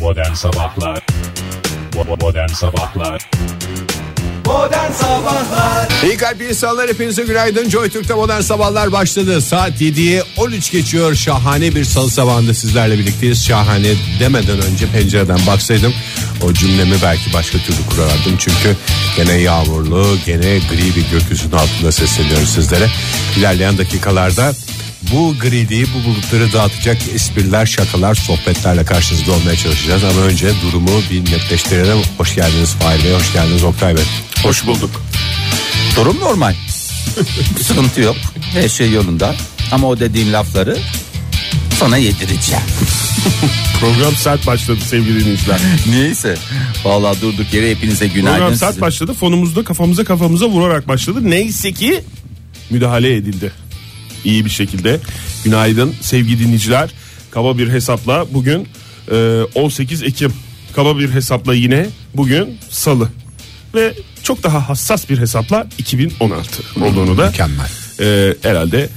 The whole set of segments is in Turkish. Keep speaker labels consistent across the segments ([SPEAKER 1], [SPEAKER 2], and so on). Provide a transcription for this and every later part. [SPEAKER 1] Modern Sabahlar Bo- Modern Sabahlar
[SPEAKER 2] İyi kalp insanlar hepinize günaydın. Joy Türk'te modern sabahlar başladı. Saat 7'ye 13 geçiyor. Şahane bir salı sabahında sizlerle birlikteyiz. Şahane demeden önce pencereden baksaydım o cümlemi belki başka türlü kurardım. Çünkü gene yağmurlu, gene gri bir gökyüzünün altında sesleniyoruz sizlere. İlerleyen dakikalarda bu griliği, bu bulutları dağıtacak espriler, şakalar, sohbetlerle karşınızda olmaya çalışacağız. Ama önce durumu bir netleştirelim. Hoş geldiniz Fahir Bey, hoş geldiniz Oktay Bey.
[SPEAKER 3] Hoş bulduk.
[SPEAKER 4] Durum normal. Bir sıkıntı yok. Her şey yolunda. Ama o dediğim lafları sana yedireceğim.
[SPEAKER 3] Program sert başladı sevgili dinleyiciler.
[SPEAKER 4] Neyse. Vallahi durduk yere hepinize günaydın.
[SPEAKER 3] Program sert
[SPEAKER 4] sizin.
[SPEAKER 3] başladı. Fonumuzda kafamıza kafamıza vurarak başladı. Neyse ki müdahale edildi. İyi bir şekilde. Günaydın sevgili dinleyiciler. Kaba bir hesapla bugün e, 18 Ekim. Kaba bir hesapla yine bugün Salı. Ve çok daha hassas bir hesapla 2016
[SPEAKER 4] Hmm,
[SPEAKER 3] olduğunu da
[SPEAKER 2] Mükemmel.
[SPEAKER 3] e, herhalde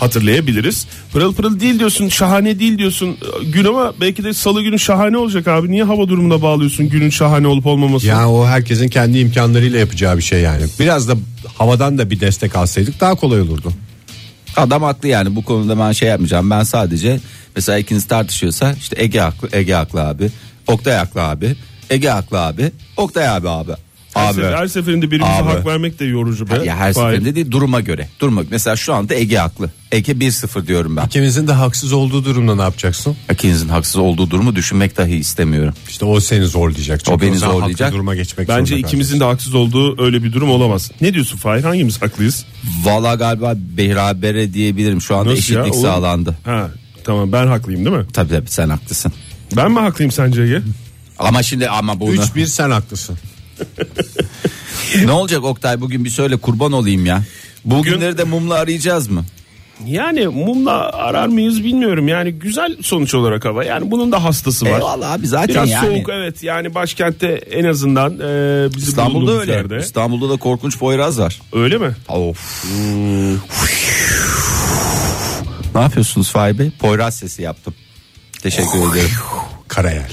[SPEAKER 3] hatırlayabiliriz. Pırıl pırıl değil diyorsun, şahane değil diyorsun e, gün ama belki de salı günü şahane olacak abi. Niye hava durumuna bağlıyorsun günün şahane olup olmamasını?
[SPEAKER 2] Yani o herkesin kendi imkanlarıyla yapacağı bir şey yani. Biraz da havadan da bir destek alsaydık daha kolay olurdu.
[SPEAKER 4] Adam haklı yani bu konuda ben şey yapmayacağım. Ben sadece mesela ikiniz tartışıyorsa işte Ege haklı, Ege haklı abi. Oktay haklı abi. Ege haklı abi. Oktay abi abi.
[SPEAKER 3] her,
[SPEAKER 4] Abi.
[SPEAKER 3] sefer- her şey. seferinde birbirimize
[SPEAKER 4] Abi.
[SPEAKER 3] hak vermek de yorucu be.
[SPEAKER 4] Ya her
[SPEAKER 3] Fahir.
[SPEAKER 4] seferinde değil duruma göre. Duruma mesela şu anda Ege haklı. Ege 1-0 diyorum ben.
[SPEAKER 2] İkimizin de haksız olduğu durumda ne yapacaksın?
[SPEAKER 4] İkinizin haksız olduğu durumu düşünmek dahi istemiyorum.
[SPEAKER 2] İşte o seni zorlayacak. Çünkü
[SPEAKER 4] O beni
[SPEAKER 2] zaman haklı
[SPEAKER 4] zorlayacak.
[SPEAKER 2] duruma geçmek
[SPEAKER 3] Bence
[SPEAKER 2] zorunda
[SPEAKER 3] ikimizin
[SPEAKER 2] kalacaksın.
[SPEAKER 3] de haksız olduğu öyle bir durum olamaz. Ne diyorsun Fahir? Hangimiz haklıyız?
[SPEAKER 4] Valla galiba berabere diyebilirim. Şu anda
[SPEAKER 3] Nasıl ya?
[SPEAKER 4] eşitlik
[SPEAKER 3] Oğlum-
[SPEAKER 4] sağlandı.
[SPEAKER 3] Ha, tamam ben haklıyım değil mi?
[SPEAKER 4] Tabii tabii sen haklısın.
[SPEAKER 3] Ben mi haklıyım sence Ege?
[SPEAKER 4] Ama şimdi ama bunu
[SPEAKER 2] Üç bir sen haklısın.
[SPEAKER 4] ne olacak Oktay bugün bir söyle kurban olayım ya. Bugünleri de mumla arayacağız mı?
[SPEAKER 3] Yani mumla arar mıyız bilmiyorum. Yani güzel sonuç olarak hava. Yani bunun da hastası var.
[SPEAKER 4] Eyvallah abi zaten
[SPEAKER 3] Biraz
[SPEAKER 4] yani.
[SPEAKER 3] soğuk evet yani başkentte en azından e, bizi
[SPEAKER 4] İstanbul'da
[SPEAKER 3] bulunduğumuz
[SPEAKER 4] öyle.
[SPEAKER 3] yerde.
[SPEAKER 4] İstanbul'da da korkunç boyraz var.
[SPEAKER 3] Öyle mi?
[SPEAKER 4] Of. Ne yapıyorsunuz Fahri Bey? Poyraz sesi yaptım. Teşekkür ederim.
[SPEAKER 2] Karayel.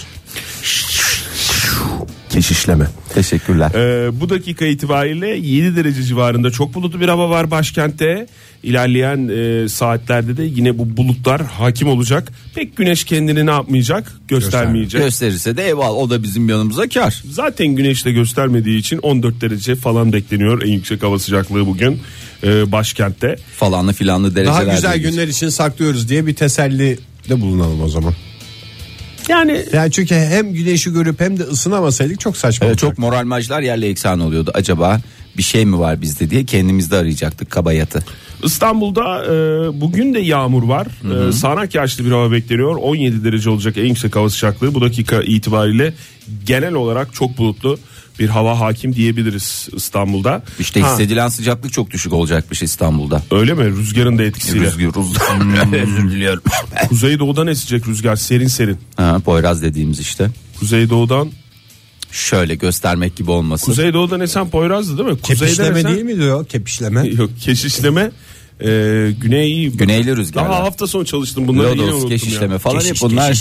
[SPEAKER 3] Keşişleme.
[SPEAKER 4] Teşekkürler.
[SPEAKER 3] Ee, bu dakika itibariyle 7 derece civarında çok bulutlu bir hava var başkentte. İlerleyen e, saatlerde de yine bu bulutlar hakim olacak. Pek güneş kendini ne yapmayacak? Göstermeyecek.
[SPEAKER 4] Gösterirse de eyvallah o da bizim yanımıza kar.
[SPEAKER 3] Zaten güneş de göstermediği için 14 derece falan bekleniyor en yüksek hava sıcaklığı bugün e, başkentte.
[SPEAKER 4] Falanlı filanlı
[SPEAKER 2] Daha
[SPEAKER 4] dereceler.
[SPEAKER 2] güzel günler için saklıyoruz diye bir teselli de bulunalım o zaman.
[SPEAKER 3] Yani
[SPEAKER 2] Yani çünkü hem güneşi görüp hem de ısınamasaydık çok saçma
[SPEAKER 4] Ee,
[SPEAKER 2] olacak.
[SPEAKER 4] çok moral majlar yerle eksan oluyordu. Acaba bir şey mi var bizde diye kendimizde arayacaktık kabayatı.
[SPEAKER 3] İstanbul'da e, bugün de yağmur var. E, sağanak yağışlı bir hava bekleniyor. 17 derece olacak en yüksek hava sıcaklığı. Bu dakika itibariyle genel olarak çok bulutlu bir hava hakim diyebiliriz İstanbul'da.
[SPEAKER 4] İşte
[SPEAKER 3] Ha,
[SPEAKER 4] hissedilen sıcaklık çok düşük olacakmış İstanbul'da.
[SPEAKER 3] Öyle mi? Rüzgarın da etkisiyle.
[SPEAKER 4] Rüzgar
[SPEAKER 3] Hmm.
[SPEAKER 4] rüzgar. Özür diliyorum.
[SPEAKER 3] Kuzeydoğudan esecek rüzgar serin serin.
[SPEAKER 4] ha, Poyraz dediğimiz işte.
[SPEAKER 3] Kuzeydoğudan
[SPEAKER 4] Şöyle göstermek gibi olmasın.
[SPEAKER 3] Kuzeydoğudan esen Poyraz'dı değil mi? Kuzeyden
[SPEAKER 2] Kepişleme
[SPEAKER 3] esen-
[SPEAKER 2] değil mi diyor? Kepişleme.
[SPEAKER 3] Yok keşişleme e, güney
[SPEAKER 4] Güneyli rüzgarlar.
[SPEAKER 3] Daha hafta sonu çalıştım bunları yine
[SPEAKER 4] Lodos,
[SPEAKER 3] unuttum ya.
[SPEAKER 4] keşişleme falan hep bunlar.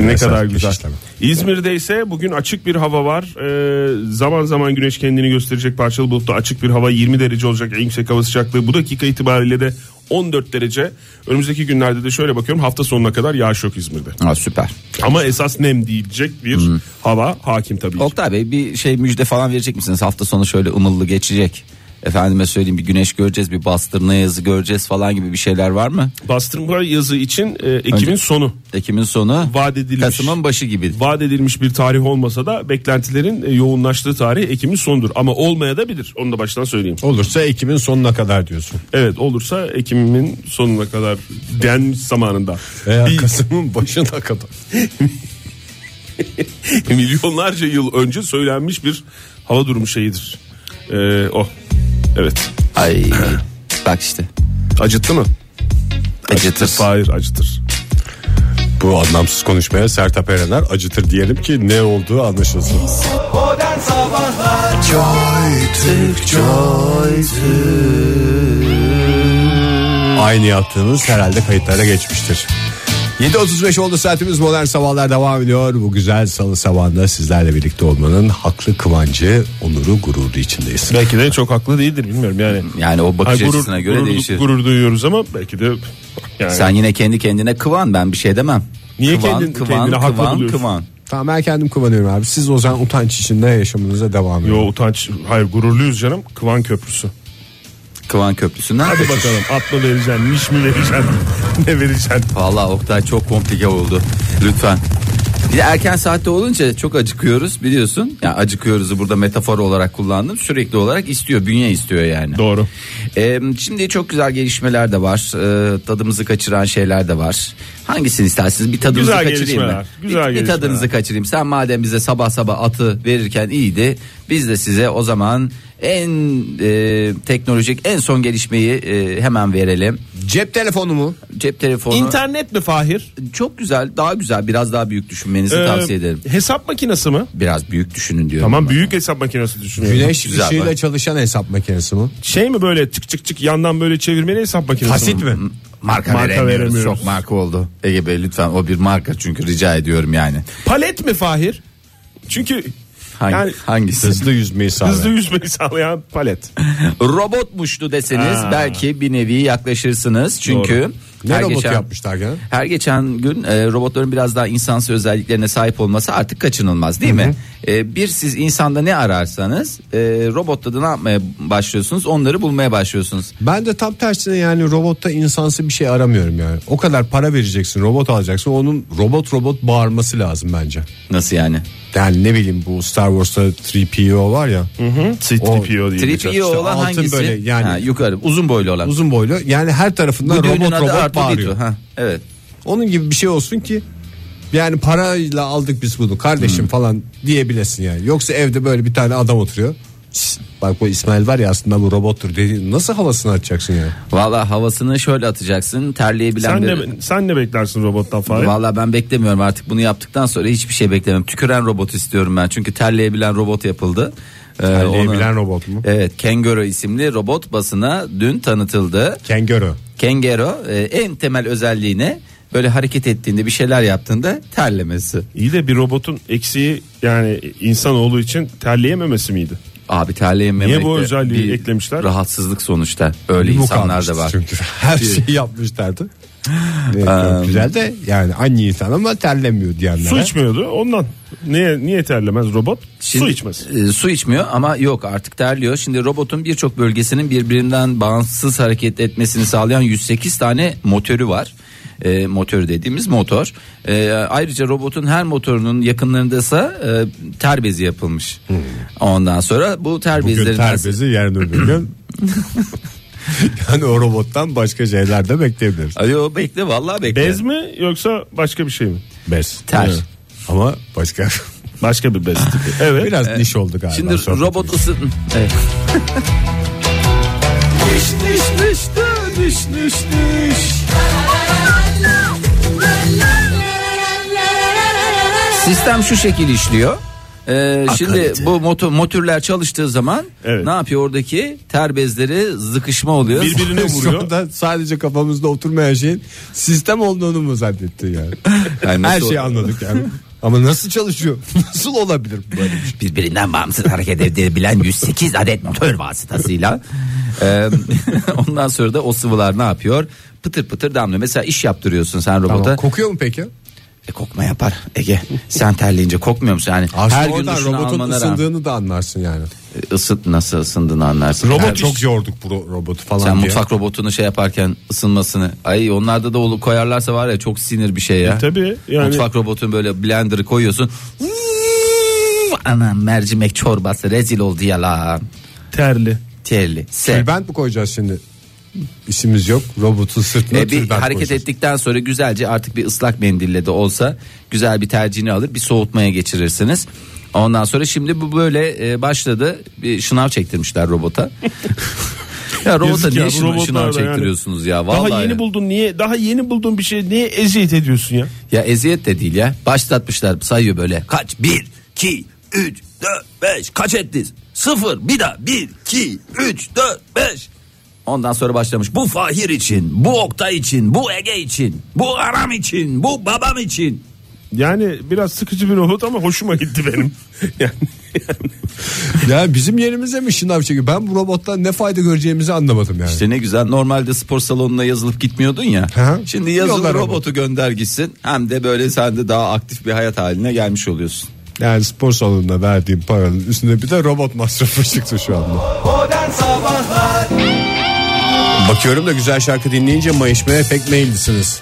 [SPEAKER 3] ne kadar güzel.
[SPEAKER 2] işlemi.
[SPEAKER 3] İzmir'de ise bugün açık bir hava var. Ee, zaman zaman güneş kendini gösterecek parçalı bulutlu açık bir hava 20 derece olacak en yüksek hava sıcaklığı. Bu dakika itibariyle de 14 derece. Önümüzdeki günlerde de şöyle bakıyorum hafta sonuna kadar yağış yok İzmir'de.
[SPEAKER 4] Ha, süper.
[SPEAKER 3] Ama esas nem diyecek bir hava hakim tabii ki.
[SPEAKER 4] Oktay Bey bir şey müjde falan verecek misiniz? Hafta sonu şöyle ımıllı geçecek. Efendime söyleyeyim bir güneş göreceğiz, bir bastırma yazı göreceğiz falan gibi bir şeyler var mı?
[SPEAKER 3] Bastırma yazı için e, Ekim'in
[SPEAKER 4] Önce-
[SPEAKER 3] sonu.
[SPEAKER 4] Ekim'in sonu
[SPEAKER 3] Vaat edilmiş.
[SPEAKER 4] Kasım'ın başı gibi.
[SPEAKER 3] Vaat edilmiş bir tarih olmasa da beklentilerin e, yoğunlaştığı tarih Ekim'in sonudur. Ama olmaya da bilir. Onu da baştan söyleyeyim.
[SPEAKER 2] Olursa Ekim'in sonuna kadar diyorsun.
[SPEAKER 3] Evet olursa Ekim'in sonuna kadar denmiş zamanında.
[SPEAKER 2] Veya
[SPEAKER 3] Bir-
[SPEAKER 2] Kasım'ın başına kadar.
[SPEAKER 3] milyonlarca yıl önce söylenmiş bir hava durumu şeyidir. Ee, o. Evet.
[SPEAKER 4] Ay bak işte
[SPEAKER 3] Acıttı mı?
[SPEAKER 4] acıtır.
[SPEAKER 3] Hayır acıtır.
[SPEAKER 2] Bu anlamsız konuşmaya Sertab Erener acıtır diyelim ki ne olduğu anlaşılsın. Aynı yaptığınız herhalde kayıtlara geçmiştir. 7.35 oldu saatimiz modern sabahlar devam ediyor. Bu güzel salı sabahında sizlerle birlikte olmanın haklı kıvancı, onuru, gururu içindeyiz.
[SPEAKER 3] Belki de çok haklı değildir bilmiyorum yani.
[SPEAKER 4] Hmm, Yani o bakış
[SPEAKER 3] Ay,
[SPEAKER 4] açısına göre
[SPEAKER 3] gurur,
[SPEAKER 4] değişir.
[SPEAKER 3] Gurur duyuyoruz ama belki de yani
[SPEAKER 4] Sen yine kendi kendine kıvan ben bir şey demem.
[SPEAKER 3] Niye
[SPEAKER 4] kıvan,
[SPEAKER 3] kendin-
[SPEAKER 4] kıvan,
[SPEAKER 3] kendine haklı
[SPEAKER 4] kıvan,
[SPEAKER 3] buluyorsun?
[SPEAKER 4] kıvan.
[SPEAKER 2] Tamam ben kendim kıvanıyorum abi. Siz o zaman utanç içinde yaşamınıza devam edin.
[SPEAKER 3] Yo utanç hayır gururluyuz canım Kıvan Köprüsü.
[SPEAKER 4] Kıvan köprüsünden.
[SPEAKER 3] Hadi bakalım atla vereceksin niş mi vereceksin ne vereceksin.
[SPEAKER 4] Vallahi Oktay çok komplike oldu. Lütfen. Bir de erken saatte olunca çok acıkıyoruz biliyorsun. Ya acıkıyoruzu burada metafor olarak kullandım. Sürekli olarak istiyor, bünye istiyor yani.
[SPEAKER 3] Doğru.
[SPEAKER 4] Ee, şimdi çok güzel gelişmeler de var. Ee, tadımızı kaçıran şeyler de var. Hangisini istersiniz? Bir tadınızı
[SPEAKER 3] Güzel
[SPEAKER 4] kaçırayım
[SPEAKER 3] gelişmeler,
[SPEAKER 4] mı?
[SPEAKER 3] güzel
[SPEAKER 4] bir, bir
[SPEAKER 3] gelişmeler.
[SPEAKER 4] tadınızı kaçırayım. Sen madem bize sabah sabah atı verirken iyiydi. Biz de size o zaman en e, teknolojik en son gelişmeyi e, hemen verelim.
[SPEAKER 2] Cep telefonu mu?
[SPEAKER 4] Cep telefonu.
[SPEAKER 3] İnternet mi Fahir?
[SPEAKER 4] Çok güzel, daha güzel, biraz daha büyük düşünmenizi tavsiye ederim.
[SPEAKER 3] Hesap makinesi mi?
[SPEAKER 4] Biraz büyük düşünün diyorum.
[SPEAKER 3] Ee, Tamam büyük hesap makinesi düşünüyorum.
[SPEAKER 2] Güneş
[SPEAKER 4] Güzel
[SPEAKER 2] ışığıyla
[SPEAKER 4] bak.
[SPEAKER 2] çalışan hesap makinesi mi?
[SPEAKER 3] Şey mi böyle çık çık çık yandan böyle çevirmeli hesap makinesi mi?
[SPEAKER 4] Marka,
[SPEAKER 3] Marka
[SPEAKER 4] veremiyoruz.
[SPEAKER 3] veremiyoruz.
[SPEAKER 4] Çok marka oldu. Ege Bey lütfen o bir marka çünkü rica ediyorum yani.
[SPEAKER 3] Palet mi Fahir? Çünkü
[SPEAKER 4] Hangi,
[SPEAKER 3] yani
[SPEAKER 4] hangisi?
[SPEAKER 2] Hızlı yüzmeyi sağlayan.
[SPEAKER 3] hızlı yüzmeyi sağlayan palet.
[SPEAKER 4] Robotmuştu deseniz
[SPEAKER 3] Ha.
[SPEAKER 4] belki bir nevi yaklaşırsınız. Çünkü
[SPEAKER 2] Ne
[SPEAKER 4] her
[SPEAKER 2] robot
[SPEAKER 4] geçen,
[SPEAKER 2] yapmışlar gene?
[SPEAKER 4] her geçen gün e, robotların biraz daha insansı özelliklerine sahip olması artık kaçınılmaz değil mi? E, bir siz insanda ne ararsanız e, robotta da ne yapmaya başlıyorsunuz onları bulmaya başlıyorsunuz.
[SPEAKER 2] Ben de tam tersine yani robotta insansı bir şey aramıyorum yani. O kadar para vereceksin, robot alacaksın. Onun robot robot bağırması lazım bence.
[SPEAKER 4] Nasıl yani?
[SPEAKER 2] Yani ne bileyim bu Star Wars'ta 3PO var ya.
[SPEAKER 3] Street PO diye geçer.
[SPEAKER 4] 3PO
[SPEAKER 2] İşte
[SPEAKER 4] olan
[SPEAKER 2] altın
[SPEAKER 4] hangisi?
[SPEAKER 2] böyle yani.
[SPEAKER 4] Ha, yukarı uzun boylu olan.
[SPEAKER 2] Uzun boylu. Yani her
[SPEAKER 4] Bu
[SPEAKER 2] tarafından
[SPEAKER 4] düğünün
[SPEAKER 2] robot
[SPEAKER 4] adı
[SPEAKER 2] robot
[SPEAKER 4] Artu
[SPEAKER 2] bağırıyor.
[SPEAKER 4] Ditu, Ha, evet.
[SPEAKER 2] Onun gibi bir şey olsun ki yani parayla aldık biz bunu kardeşim
[SPEAKER 4] Hmm.
[SPEAKER 2] falan diyebilesin yani. Yoksa evde böyle bir tane adam oturuyor. "Şşt, Bak bu İsmail var ya aslında bu robottur dedi. Nasıl havasını atacaksın yani?
[SPEAKER 4] Valla havasını şöyle atacaksın terleyebilen
[SPEAKER 3] Sen
[SPEAKER 4] bir...
[SPEAKER 3] ne, sen ne beklersin robottan Fahir?
[SPEAKER 4] Valla ben beklemiyorum artık bunu yaptıktan sonra hiçbir şey beklemiyorum. Tüküren robot istiyorum ben çünkü terleyebilen robot yapıldı. Ee,
[SPEAKER 2] Terleyebilen
[SPEAKER 4] onu-
[SPEAKER 2] robot mu?
[SPEAKER 4] Evet Kengoro isimli robot basına dün tanıtıldı.
[SPEAKER 2] Kenguru.
[SPEAKER 4] Kengoro e, en temel özelliğine böyle hareket ettiğinde bir şeyler yaptığında terlemesi.
[SPEAKER 3] İyi de bir robotun eksiği yani insanoğlu için terleyememesi miydi?
[SPEAKER 4] Abi terleyememekte
[SPEAKER 3] Niye bu özelliği
[SPEAKER 4] bir
[SPEAKER 3] eklemişler?
[SPEAKER 4] Rahatsızlık sonuçta öyle
[SPEAKER 2] Bu
[SPEAKER 4] insanlar
[SPEAKER 2] kalmıştı
[SPEAKER 4] da var.
[SPEAKER 2] Çünkü her şeyi yapmışlardı. Evet,
[SPEAKER 4] Ee,
[SPEAKER 2] çok güzel de yani anne insan ama terlemiyor diyenlere.
[SPEAKER 3] Su içmiyordu ondan. Niye niye terlemez robot?
[SPEAKER 4] Şimdi,
[SPEAKER 3] Su içmez.
[SPEAKER 4] e, su içmiyor ama yok artık terliyor. Şimdi robotun birçok bölgesinin birbirinden bağımsız hareket etmesini sağlayan 108 tane motoru var. E, motor dediğimiz motor. E, ayrıca robotun her motorunun yakınlarında ise e, ter bezi yapılmış.
[SPEAKER 3] Hmm.
[SPEAKER 4] Ondan sonra bu ter
[SPEAKER 2] Bugün
[SPEAKER 4] bezlerinden
[SPEAKER 2] terbezi yarın öbür gün. yani o robottan başka şeyler de bekleyebiliriz.
[SPEAKER 4] Ay, Yo bekle vallahi bekle.
[SPEAKER 3] Bez mi yoksa başka bir şey mi?
[SPEAKER 2] Bez.
[SPEAKER 4] Ter.
[SPEAKER 2] Evet. Ama başka.
[SPEAKER 3] Başka bir bez tipi. Evet.
[SPEAKER 2] Biraz niş oldu galiba.
[SPEAKER 4] Ee, Şimdi
[SPEAKER 2] sohbet.
[SPEAKER 4] robot ısın. Evet. Sistem şu şekil işliyor. Ee, şimdi bu motor motorlar çalıştığı zaman
[SPEAKER 3] Evet.
[SPEAKER 4] ne yapıyor oradaki ter bezleri zıkışma oluyor.
[SPEAKER 3] Birbirine
[SPEAKER 2] Şu
[SPEAKER 3] vuruyor.
[SPEAKER 2] anda sadece kafamızda oturmayan şeyin sistem olduğunu mu zannetti yani?
[SPEAKER 4] Yani
[SPEAKER 2] Her
[SPEAKER 4] nasıl-
[SPEAKER 2] şeyi anladık yani. Ama nasıl çalışıyor? Nasıl olabilir böyle bir şey?
[SPEAKER 4] birbirinden bağımsız hareket edebilen 108 adet motor vasıtasıyla. Ee, ondan sonra da o sıvılar ne yapıyor? Pıtır pıtır damlıyor. Mesela iş yaptırıyorsun sen robota.
[SPEAKER 2] Tamam. Kokuyor mu peki?
[SPEAKER 4] E, kokma yapar Ege. Sen terleyince kokmuyor musun? Yani
[SPEAKER 2] Aslında
[SPEAKER 4] her gün
[SPEAKER 2] oradan
[SPEAKER 4] duşunu
[SPEAKER 2] robotun
[SPEAKER 4] almana
[SPEAKER 2] ısındığını
[SPEAKER 4] rağmen
[SPEAKER 2] da anlarsın yani.
[SPEAKER 4] E, ısıt nasıl ısındığını anlarsın. Her-
[SPEAKER 2] Robot çok yorduk bu ro- robotu falan
[SPEAKER 4] Sen
[SPEAKER 2] diye.
[SPEAKER 4] mutfak robotunu şey yaparken ısınmasını. Ay onlarda da olu koyarlarsa var ya çok sinir bir şey ya.
[SPEAKER 3] E, Tabii yani
[SPEAKER 4] Mutfak robotun böyle blender'ı koyuyorsun. Anam mercimek çorbası rezil oldu ya la.
[SPEAKER 3] terli.
[SPEAKER 4] Terli. Se.
[SPEAKER 2] Tülbent mi koyacağız şimdi? İşimiz yok. Robotun sırtına
[SPEAKER 4] E, bir
[SPEAKER 2] tülbent
[SPEAKER 4] hareket
[SPEAKER 2] koyacağız.
[SPEAKER 4] ettikten sonra güzelce artık bir ıslak mendille de olsa güzel bir tercihini alır bir soğutmaya geçirirsiniz. Ondan sonra şimdi bu böyle e, başladı. Bir şınav çektirmişler robota. ya robota
[SPEAKER 3] Yazık
[SPEAKER 4] niye
[SPEAKER 3] ya, bu
[SPEAKER 4] şınav, şınav
[SPEAKER 3] robotlar da yani.
[SPEAKER 4] çektiriyorsunuz ya? Vallahi
[SPEAKER 3] Daha yeni
[SPEAKER 4] ya.
[SPEAKER 3] buldun niye? Daha yeni buldun bir şey niye eziyet ediyorsun ya?
[SPEAKER 4] Ya eziyet de değil ya. Başlatmışlar sayıyor böyle. Kaç? Bir, iki, üç, dört, beş. Kaç ettiniz? Sıfır. Bir daha. Bir, iki, üç, dört, beş. Ondan sonra başlamış. Bu Fahir için, bu Oktay için, bu Ege için, bu Aram için, bu babam için.
[SPEAKER 3] Yani biraz sıkıcı bir robot ama hoşuma gitti benim. yani, yani
[SPEAKER 2] Ya bizim yerimize mi şınav çekiyor? Ben bu robottan ne fayda göreceğimizi anlamadım yani.
[SPEAKER 4] İşte ne güzel normalde spor salonuna yazılıp gitmiyordun ya.
[SPEAKER 2] hı.
[SPEAKER 4] Şimdi yazılı
[SPEAKER 2] Yolla
[SPEAKER 4] robotu
[SPEAKER 2] robotu.
[SPEAKER 4] gönder gitsin. Hem de böyle sen de daha aktif bir hayat haline gelmiş oluyorsun.
[SPEAKER 2] Yani spor salonuna verdiğim paranın üstüne bir de robot masrafı çıktı şu anda. Bakıyorum da güzel şarkı dinleyince mayışmaya pek meyillisiniz.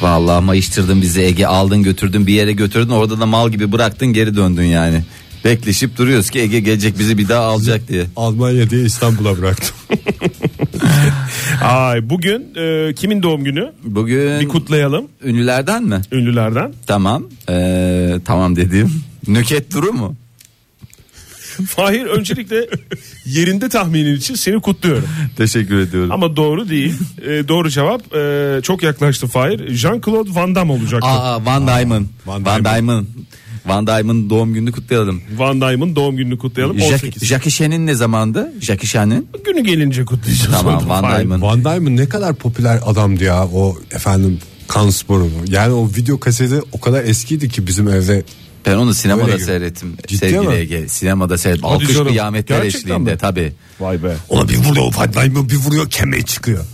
[SPEAKER 4] Vallahi mayıştırdın bizi Ege aldın götürdün bir yere götürdün orada da mal gibi bıraktın geri döndün yani. Bekleşip duruyoruz ki Ege gelecek bizi bir daha alacak diye.
[SPEAKER 2] Almanya diye İstanbul'a bıraktım.
[SPEAKER 3] Ay bugün e, kimin doğum günü?
[SPEAKER 4] Bugün
[SPEAKER 3] Bir kutlayalım
[SPEAKER 4] ünlülerden mi?
[SPEAKER 3] ünlülerden.
[SPEAKER 4] Tamam. Ee, tamam dediğim. Nüket Duru mu?
[SPEAKER 3] Fahir öncelikle yerinde tahminin için seni kutluyorum.
[SPEAKER 4] Teşekkür ediyorum.
[SPEAKER 3] Ama doğru değil. E, doğru cevap e, çok yaklaştı Fahir. Jean-Claude Van Damme olacaktı.
[SPEAKER 4] Aa Van Diamond.
[SPEAKER 2] Van
[SPEAKER 4] Van, Diamond. Van Diamond'ın doğum gününü kutlayalım.
[SPEAKER 3] Van Damme'ın doğum gününü kutlayalım.
[SPEAKER 4] Jack-
[SPEAKER 3] 18.
[SPEAKER 4] Jackie Chan'in ne zamandı? Jackie Chan'in.
[SPEAKER 3] Günü gelince kutlayacağız.
[SPEAKER 4] Tamam
[SPEAKER 3] onu
[SPEAKER 4] Van
[SPEAKER 3] Fahir.
[SPEAKER 4] Diamond.
[SPEAKER 2] Van Damme ne kadar popüler adamdı ya o efendim kan sporu. Yani o video kaseti o kadar eskiydi ki bizim evde.
[SPEAKER 4] Ben onu sinemada
[SPEAKER 2] Öyle gibi.
[SPEAKER 4] seyrettim.
[SPEAKER 2] Ciddi
[SPEAKER 4] Sevgili
[SPEAKER 2] mi?
[SPEAKER 4] Ege. Sinemada seyrettim. Alkış
[SPEAKER 3] canım.
[SPEAKER 4] kıyametler
[SPEAKER 3] Gerçekten
[SPEAKER 4] eşliğinde
[SPEAKER 3] mi?
[SPEAKER 4] tabii.
[SPEAKER 3] Vay be.
[SPEAKER 2] Ona bir vuruyor Van Damme bir vuruyor kemiği çıkıyor.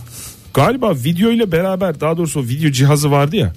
[SPEAKER 3] Galiba video ile beraber daha doğrusu o video cihazı vardı ya.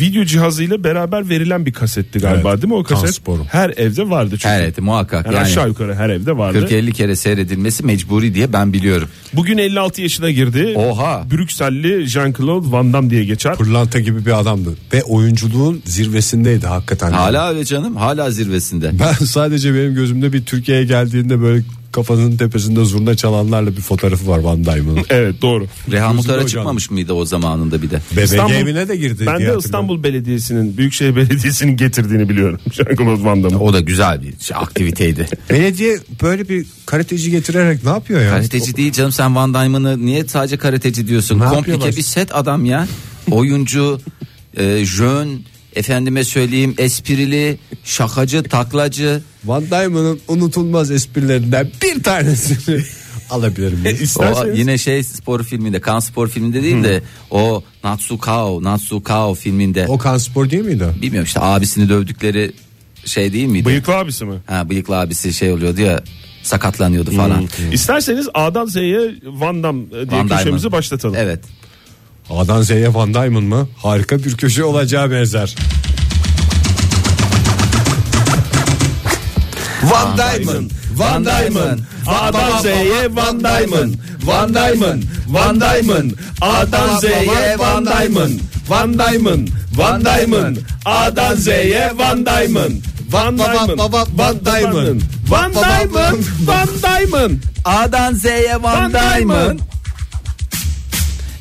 [SPEAKER 3] Video cihazı ile beraber verilen bir kasetti galiba
[SPEAKER 2] Evet,
[SPEAKER 3] değil mi o kaset?
[SPEAKER 2] Transporum.
[SPEAKER 3] Her evde vardı çünkü.
[SPEAKER 4] Evet muhakkak
[SPEAKER 3] Yani
[SPEAKER 4] yani.
[SPEAKER 3] aşağı yukarı her evde vardı.
[SPEAKER 4] 40-50 kere seyredilmesi mecburi diye ben biliyorum.
[SPEAKER 3] Bugün 56 yaşına girdi.
[SPEAKER 4] Oha.
[SPEAKER 3] Brükselli Jean-Claude Van Damme diye geçer.
[SPEAKER 2] Pırlanta gibi bir adamdı ve oyunculuğun zirvesindeydi hakikaten.
[SPEAKER 4] Hala öyle canım hala zirvesinde.
[SPEAKER 2] Ben sadece benim gözümde bir Türkiye'ye geldiğinde böyle kafasının tepesinde zurna çalanlarla bir fotoğrafı var Van Damme'ın.
[SPEAKER 3] Evet doğru.
[SPEAKER 4] Reha
[SPEAKER 2] Gözümde
[SPEAKER 4] Muhtar'a
[SPEAKER 2] hocam.
[SPEAKER 4] çıkmamış mıydı o zamanında bir de?
[SPEAKER 2] BBG evine de girdi.
[SPEAKER 3] Ben
[SPEAKER 2] diye
[SPEAKER 3] de İstanbul Belediyesi'nin, Büyükşehir Belediyesi'nin getirdiğini biliyorum. Jean-Claude Van Damme'ı.
[SPEAKER 4] O da güzel bir şey, aktiviteydi.
[SPEAKER 2] hatırlıyorum. Belediye böyle bir karateci getirerek ne yapıyor ya?
[SPEAKER 4] karateci değil canım sen Van Diamond'ı niye sadece karateci diyorsun?
[SPEAKER 2] Ne
[SPEAKER 4] Komplike
[SPEAKER 2] yapıyorlar?
[SPEAKER 4] bir set adam ya. Oyuncu, e, jön, efendime söyleyeyim esprili, şakacı, taklacı.
[SPEAKER 2] Van Damme'ın unutulmaz esprilerinden bir tanesini alabilirim.
[SPEAKER 4] O
[SPEAKER 3] İsterseniz
[SPEAKER 4] yine şey spor filminde, kan spor filminde değil de o Natsukao, Natsukao filminde.
[SPEAKER 2] o kan spor değil miydi?
[SPEAKER 4] Bilmiyorum işte abisini dövdükleri şey değil miydi?
[SPEAKER 3] bıyıklı abisi mi?
[SPEAKER 4] Ha, bıyıklı abisi şey oluyordu ya sakatlanıyordu falan.
[SPEAKER 3] Hmm, İsterseniz A'dan Z'ye Van Damme e, diye
[SPEAKER 4] Van
[SPEAKER 3] köşemizi
[SPEAKER 4] Diamond.
[SPEAKER 3] başlatalım.
[SPEAKER 4] Evet.
[SPEAKER 2] A'dan Z'ye Van Damme'ın mı? Harika bir köşe olacağı benzer. Van Damme'ın,
[SPEAKER 4] Van Diamond, A'dan Z'ye Van Diamond, Van Diamond, Van Diamond, A'dan Z'ye Van Diamond,
[SPEAKER 2] Van Damme'ın,
[SPEAKER 3] Van Diamond, A'dan Z'ye Van Diamond. Van
[SPEAKER 2] Baba,
[SPEAKER 3] Diamond,
[SPEAKER 2] baba, Van Diamond.
[SPEAKER 3] Van
[SPEAKER 2] Baba,
[SPEAKER 3] Diamond, Van Diamond.
[SPEAKER 4] A'dan Z'ye Van
[SPEAKER 3] Van Diamond.
[SPEAKER 4] Diamond.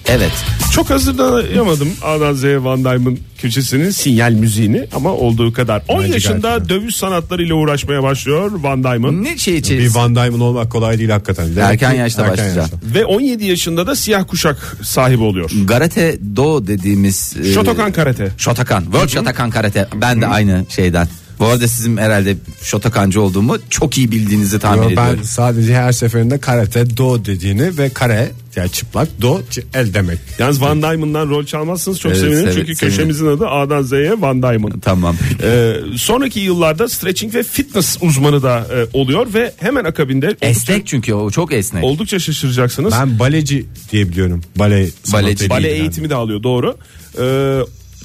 [SPEAKER 4] Evet.
[SPEAKER 3] Çok hazırlayamadım A'dan Z'ye Van Diamond köşesinin sinyal müziğini ama olduğu kadar. 10
[SPEAKER 2] Bence
[SPEAKER 3] yaşında
[SPEAKER 2] gayet
[SPEAKER 3] dövüş sanatlarıyla uğraşmaya başlıyor Van Diamond.
[SPEAKER 4] Ne şey
[SPEAKER 2] Bir
[SPEAKER 4] içeriz?
[SPEAKER 2] Van Damme'ın olmak kolay değil hakikaten. Demek
[SPEAKER 4] Erken
[SPEAKER 2] ki
[SPEAKER 4] yaşta başlayacağım.
[SPEAKER 2] yaşta.
[SPEAKER 3] Ve 17 yaşında da siyah kuşak sahibi oluyor.
[SPEAKER 4] Garate Do dediğimiz e,
[SPEAKER 3] Shotokan karate.
[SPEAKER 4] Shotokan. World Shotokan Karate. Ben de aynı şeyden. Bu arada sizin herhalde Shotokancı olduğumu çok iyi bildiğinizi tahmin
[SPEAKER 2] Yo,
[SPEAKER 4] ediyorum.
[SPEAKER 2] Ben sadece her seferinde karate do dediğini ve kare yani çıplak do c- el demek.
[SPEAKER 3] Yalnız Van Diamond'dan rol çalmazsınız çok
[SPEAKER 4] Evet,
[SPEAKER 3] sevinirim.
[SPEAKER 4] evet,
[SPEAKER 3] Çünkü
[SPEAKER 4] sevinirim.
[SPEAKER 3] köşemizin adı A'dan Z'ye Van Diamond.
[SPEAKER 4] Tamam.
[SPEAKER 3] Ee, sonraki yıllarda stretching ve fitness uzmanı da e, oluyor ve hemen akabinde
[SPEAKER 4] Esnek çünkü o çok esnek.
[SPEAKER 3] oldukça şaşıracaksınız.
[SPEAKER 2] Ben baleci diye biliyorum. Bale
[SPEAKER 4] Baleci.
[SPEAKER 3] Bale
[SPEAKER 4] Yani.
[SPEAKER 3] eğitimi de alıyor doğru. Ee,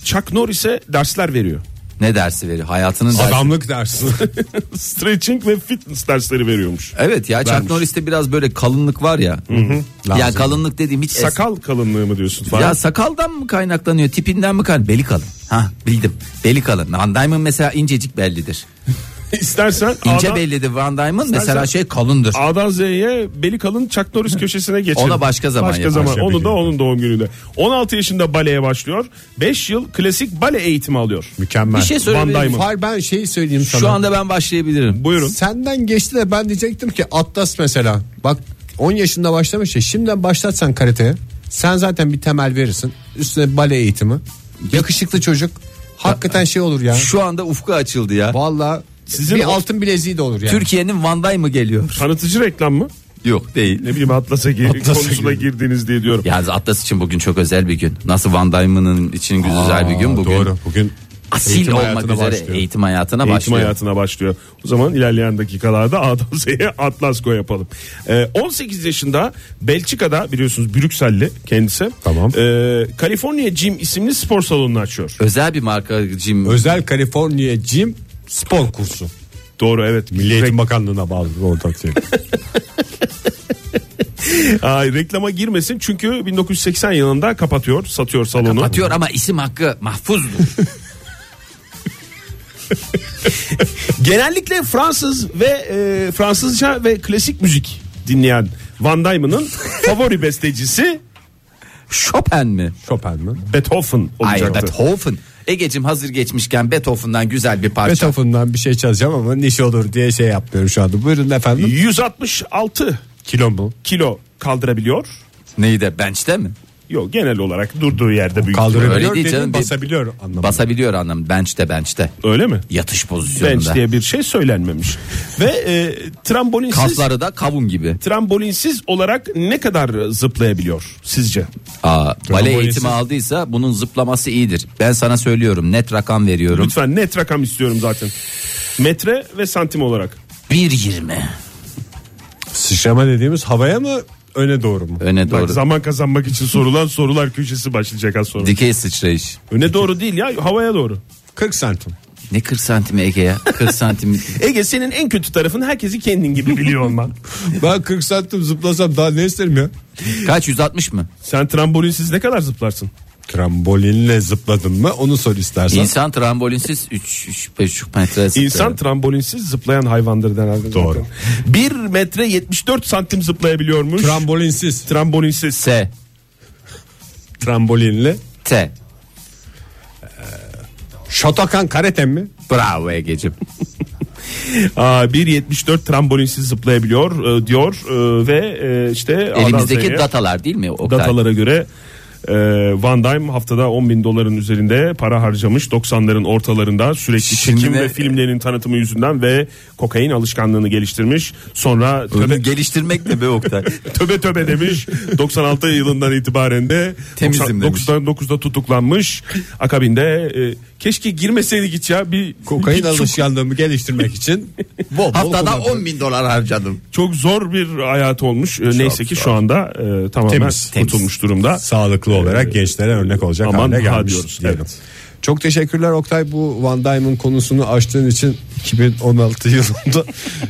[SPEAKER 3] Chuck Norris'e dersler veriyor.
[SPEAKER 4] Ne dersi veriyor? Hayatının dersi.
[SPEAKER 2] Adamlık dersi.
[SPEAKER 3] Stretching ve fitness dersleri veriyormuş.
[SPEAKER 4] Evet ya Chuck
[SPEAKER 3] Vermiş.
[SPEAKER 4] Norris'te biraz böyle kalınlık var ya. Ya
[SPEAKER 2] Lazım.
[SPEAKER 4] kalınlık dediğim hiç es-
[SPEAKER 3] Sakal kalınlığı mı diyorsun falan?
[SPEAKER 4] Ya sakaldan mı kaynaklanıyor? Tipinden mi kaynaklanıyor? Beli kalın. Ha bildim. Beli kalın. Van Diamond mesela incecik bellidir.
[SPEAKER 3] İstersen
[SPEAKER 4] İnce
[SPEAKER 3] A'dan,
[SPEAKER 4] bellidir Van Diamond
[SPEAKER 3] İstersen-
[SPEAKER 4] mesela şey kalındır.
[SPEAKER 3] A'dan Z'ye beli kalın Chuck Norris köşesine geçelim.
[SPEAKER 4] Ona başka zaman
[SPEAKER 3] Başka
[SPEAKER 4] yaparız.
[SPEAKER 3] zaman. Onu da onun doğum gününde. 16 yaşında baleye başlıyor. 5 yıl klasik bale eğitimi alıyor.
[SPEAKER 2] Mükemmel.
[SPEAKER 4] Bir şey
[SPEAKER 3] Van
[SPEAKER 4] söyleyeyim.
[SPEAKER 3] Diamond.
[SPEAKER 2] Far ben şeyi söyleyeyim sana.
[SPEAKER 4] Şu anda ben başlayabilirim.
[SPEAKER 3] Buyurun.
[SPEAKER 2] Senden geçti de ben diyecektim ki Atlas mesela. Bak 10 yaşında başlamış ya. Şimdiden başlatsan karateye. Sen zaten bir temel verirsin. Üstüne bale eğitimi. Yakışıklı çocuk. Hakikaten şey olur ya.
[SPEAKER 4] Şu anda ufku açıldı ya.
[SPEAKER 2] Valla
[SPEAKER 3] Sizin
[SPEAKER 2] bir
[SPEAKER 3] o-
[SPEAKER 2] altın bileziği de olur yani.
[SPEAKER 4] Türkiye'nin Van Diamond'ı geliyor.
[SPEAKER 3] Tanıtıcı reklam mı?
[SPEAKER 4] Yok değil.
[SPEAKER 3] Ne bileyim Atlas'a gir,
[SPEAKER 2] Atlas'a
[SPEAKER 3] konusuna girdiniz diye diyorum.
[SPEAKER 4] Yalnız Atlas için bugün çok özel bir gün. Nasıl Van Damme'ın için güzel bir gün bugün.
[SPEAKER 2] Doğru. Bugün
[SPEAKER 4] Asil
[SPEAKER 2] eğitim
[SPEAKER 4] olmak
[SPEAKER 2] hayatına
[SPEAKER 4] üzere
[SPEAKER 2] başlıyor.
[SPEAKER 4] eğitim hayatına
[SPEAKER 3] Eğitim
[SPEAKER 4] başlıyor.
[SPEAKER 3] hayatına başlıyor. O zaman ilerleyen dakikalarda A'dan Z'ye Atlasko yapalım. Ee, 18 yaşında Belçika'da biliyorsunuz Brüksel'li kendisi.
[SPEAKER 2] Tamam.
[SPEAKER 3] Ee, California Gym isimli spor salonunu açıyor.
[SPEAKER 4] Özel bir marka cim.
[SPEAKER 2] Özel Kaliforniya Jim Spor Kursu.
[SPEAKER 3] Doğru evet.
[SPEAKER 2] Milli Eğitim Bakanlığı'na bağlı bir ortak şey.
[SPEAKER 3] Ay, reklama girmesin çünkü 1980 yılında kapatıyor, satıyor salonu.
[SPEAKER 4] Atıyor ama isim hakkı mahfuzdur.
[SPEAKER 3] Genellikle Fransız ve e, Fransızca ve klasik müzik dinleyen Van Damme'ın favori bestecisi
[SPEAKER 4] Chopin mi?
[SPEAKER 2] Chopin mi?
[SPEAKER 3] Beethoven
[SPEAKER 4] Hayır
[SPEAKER 3] olacaktı.
[SPEAKER 4] Beethoven. Egecim hazır geçmişken Beethoven'dan güzel bir parça.
[SPEAKER 2] Beethoven'dan bir şey çalacağım ama niş olur diye şey yapmıyorum şu anda. Buyurun efendim.
[SPEAKER 3] 166
[SPEAKER 2] Kilo mu?
[SPEAKER 3] kilo kaldırabiliyor.
[SPEAKER 4] Neyi de bench'te mi?
[SPEAKER 3] Yok genel olarak durduğu yerde büyük.
[SPEAKER 4] Öyle
[SPEAKER 2] Kaldırabiliyor
[SPEAKER 4] değil
[SPEAKER 2] dedin,
[SPEAKER 4] canım, bir-
[SPEAKER 2] basabiliyor anlamında.
[SPEAKER 4] Basabiliyor anlamı bench'te bench'te.
[SPEAKER 3] Öyle mi?
[SPEAKER 4] Yatış pozisyonunda.
[SPEAKER 3] Bench diye bir şey söylenmemiş. Ve e, trambolinsiz
[SPEAKER 4] Kasları da kavun gibi.
[SPEAKER 3] trambolinsiz olarak ne kadar zıplayabiliyor sizce?
[SPEAKER 4] Aa, bale
[SPEAKER 3] Trambolinsiz.
[SPEAKER 4] eğitimi aldıysa bunun zıplaması iyidir. Ben sana söylüyorum net rakam veriyorum.
[SPEAKER 3] Lütfen net rakam istiyorum zaten. Metre ve santim olarak.
[SPEAKER 4] 1.20.
[SPEAKER 2] Sıçrama dediğimiz havaya mı öne doğru mu?
[SPEAKER 4] Öne
[SPEAKER 3] Bak,
[SPEAKER 4] doğru.
[SPEAKER 3] zaman kazanmak için sorulan sorular köşesi başlayacak az sonra.
[SPEAKER 4] Dikey sıçrayış.
[SPEAKER 3] Öne doğru değil ya havaya doğru.
[SPEAKER 2] 40 santim.
[SPEAKER 4] Ne 40 santim Ege ya? 40 santim.
[SPEAKER 3] Ege senin en kötü tarafın herkesi kendin gibi biliyor olman.
[SPEAKER 2] Ben 40 santim zıplasam daha ne isterim ya?
[SPEAKER 4] Kaç 160 mı?
[SPEAKER 3] Sen trambolinsiz ne kadar zıplarsın?
[SPEAKER 2] Trambolinle zıpladın mı onu sor istersen.
[SPEAKER 4] İnsan trambolinsiz 3 3,5 metre. zıplıyor.
[SPEAKER 3] İnsan trambolinsiz zıplayan hayvandır herhalde.
[SPEAKER 2] Doğru.
[SPEAKER 3] 1 metre 74 santim zıplayabiliyormuş.
[SPEAKER 2] Trambolinsiz.
[SPEAKER 3] trambolinsiz.
[SPEAKER 4] S
[SPEAKER 2] Trambolinle.
[SPEAKER 4] T.
[SPEAKER 2] Şotokan karate mi?
[SPEAKER 4] Bravo Ege'cim.
[SPEAKER 3] Aa, 1.74 trambolinsiz zıplayabiliyor e, diyor e, ve e, işte A'dan
[SPEAKER 4] Elimizdeki
[SPEAKER 3] Z'ye
[SPEAKER 4] datalar değil mi Oktay?
[SPEAKER 3] datalara göre e, Van Dam haftada 10 bin doların üzerinde para harcamış 90'ların ortalarında sürekli
[SPEAKER 4] Şimdi
[SPEAKER 3] çekim
[SPEAKER 4] ne-
[SPEAKER 3] ve filmlerin tanıtımı yüzünden ve kokain alışkanlığını geliştirmiş sonra
[SPEAKER 4] Bunu
[SPEAKER 3] töbe,
[SPEAKER 4] geliştirmek ne be Oktay?
[SPEAKER 3] töbe töbe demiş 96 yılından itibaren de
[SPEAKER 4] Temizim demiş.
[SPEAKER 3] 99'da tutuklanmış akabinde e, keşke girmeseydik hiç ya bir
[SPEAKER 2] Kokain
[SPEAKER 3] bir- çok-
[SPEAKER 2] alışkanlığımı geliştirmek için bol bol
[SPEAKER 4] Haftada
[SPEAKER 2] kullanıyorum.
[SPEAKER 4] 10 bin dolar harcadım.
[SPEAKER 3] Çok zor bir hayat olmuş. Ee, Neyse ki şu anda e, tamamen
[SPEAKER 2] Temiz.
[SPEAKER 3] kurtulmuş durumda.
[SPEAKER 2] sağlıklı olarak gençlere örnek olacak
[SPEAKER 3] aman
[SPEAKER 2] haline
[SPEAKER 3] ha
[SPEAKER 2] gelmiş
[SPEAKER 3] diyoruz,
[SPEAKER 2] diyelim.
[SPEAKER 3] evet.
[SPEAKER 2] Çok teşekkürler Oktay bu Van Damme'ın konusunu açtığın için 2016 yılında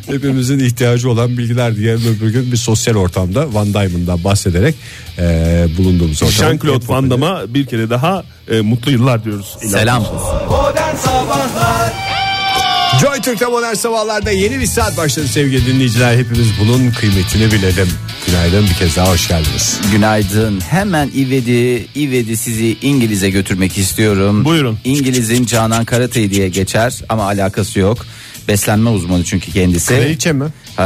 [SPEAKER 2] hepimizin ihtiyacı olan bilgiler diye öbür gün bir sosyal ortamda Van Damme'dan bahsederek eee, bulunduğumuz ortam.
[SPEAKER 3] Jean-Claude Van Damme'a bir kere daha e, mutlu yıllar diyoruz. İlhan.
[SPEAKER 4] Selam.
[SPEAKER 2] Joy Türk'te modern sabahlarda yeni bir saat başladı sevgili dinleyiciler. Hepimiz bunun kıymetini bilelim. Günaydın bir kez daha hoş geldiniz.
[SPEAKER 4] Günaydın. Hemen İvedi, İvedi sizi İngiliz'e götürmek istiyorum.
[SPEAKER 3] Buyurun.
[SPEAKER 4] İngiliz'in Canan Karatay diye geçer ama alakası yok. Beslenme uzmanı çünkü kendisi.
[SPEAKER 2] Kraliçe mi?
[SPEAKER 4] Ee,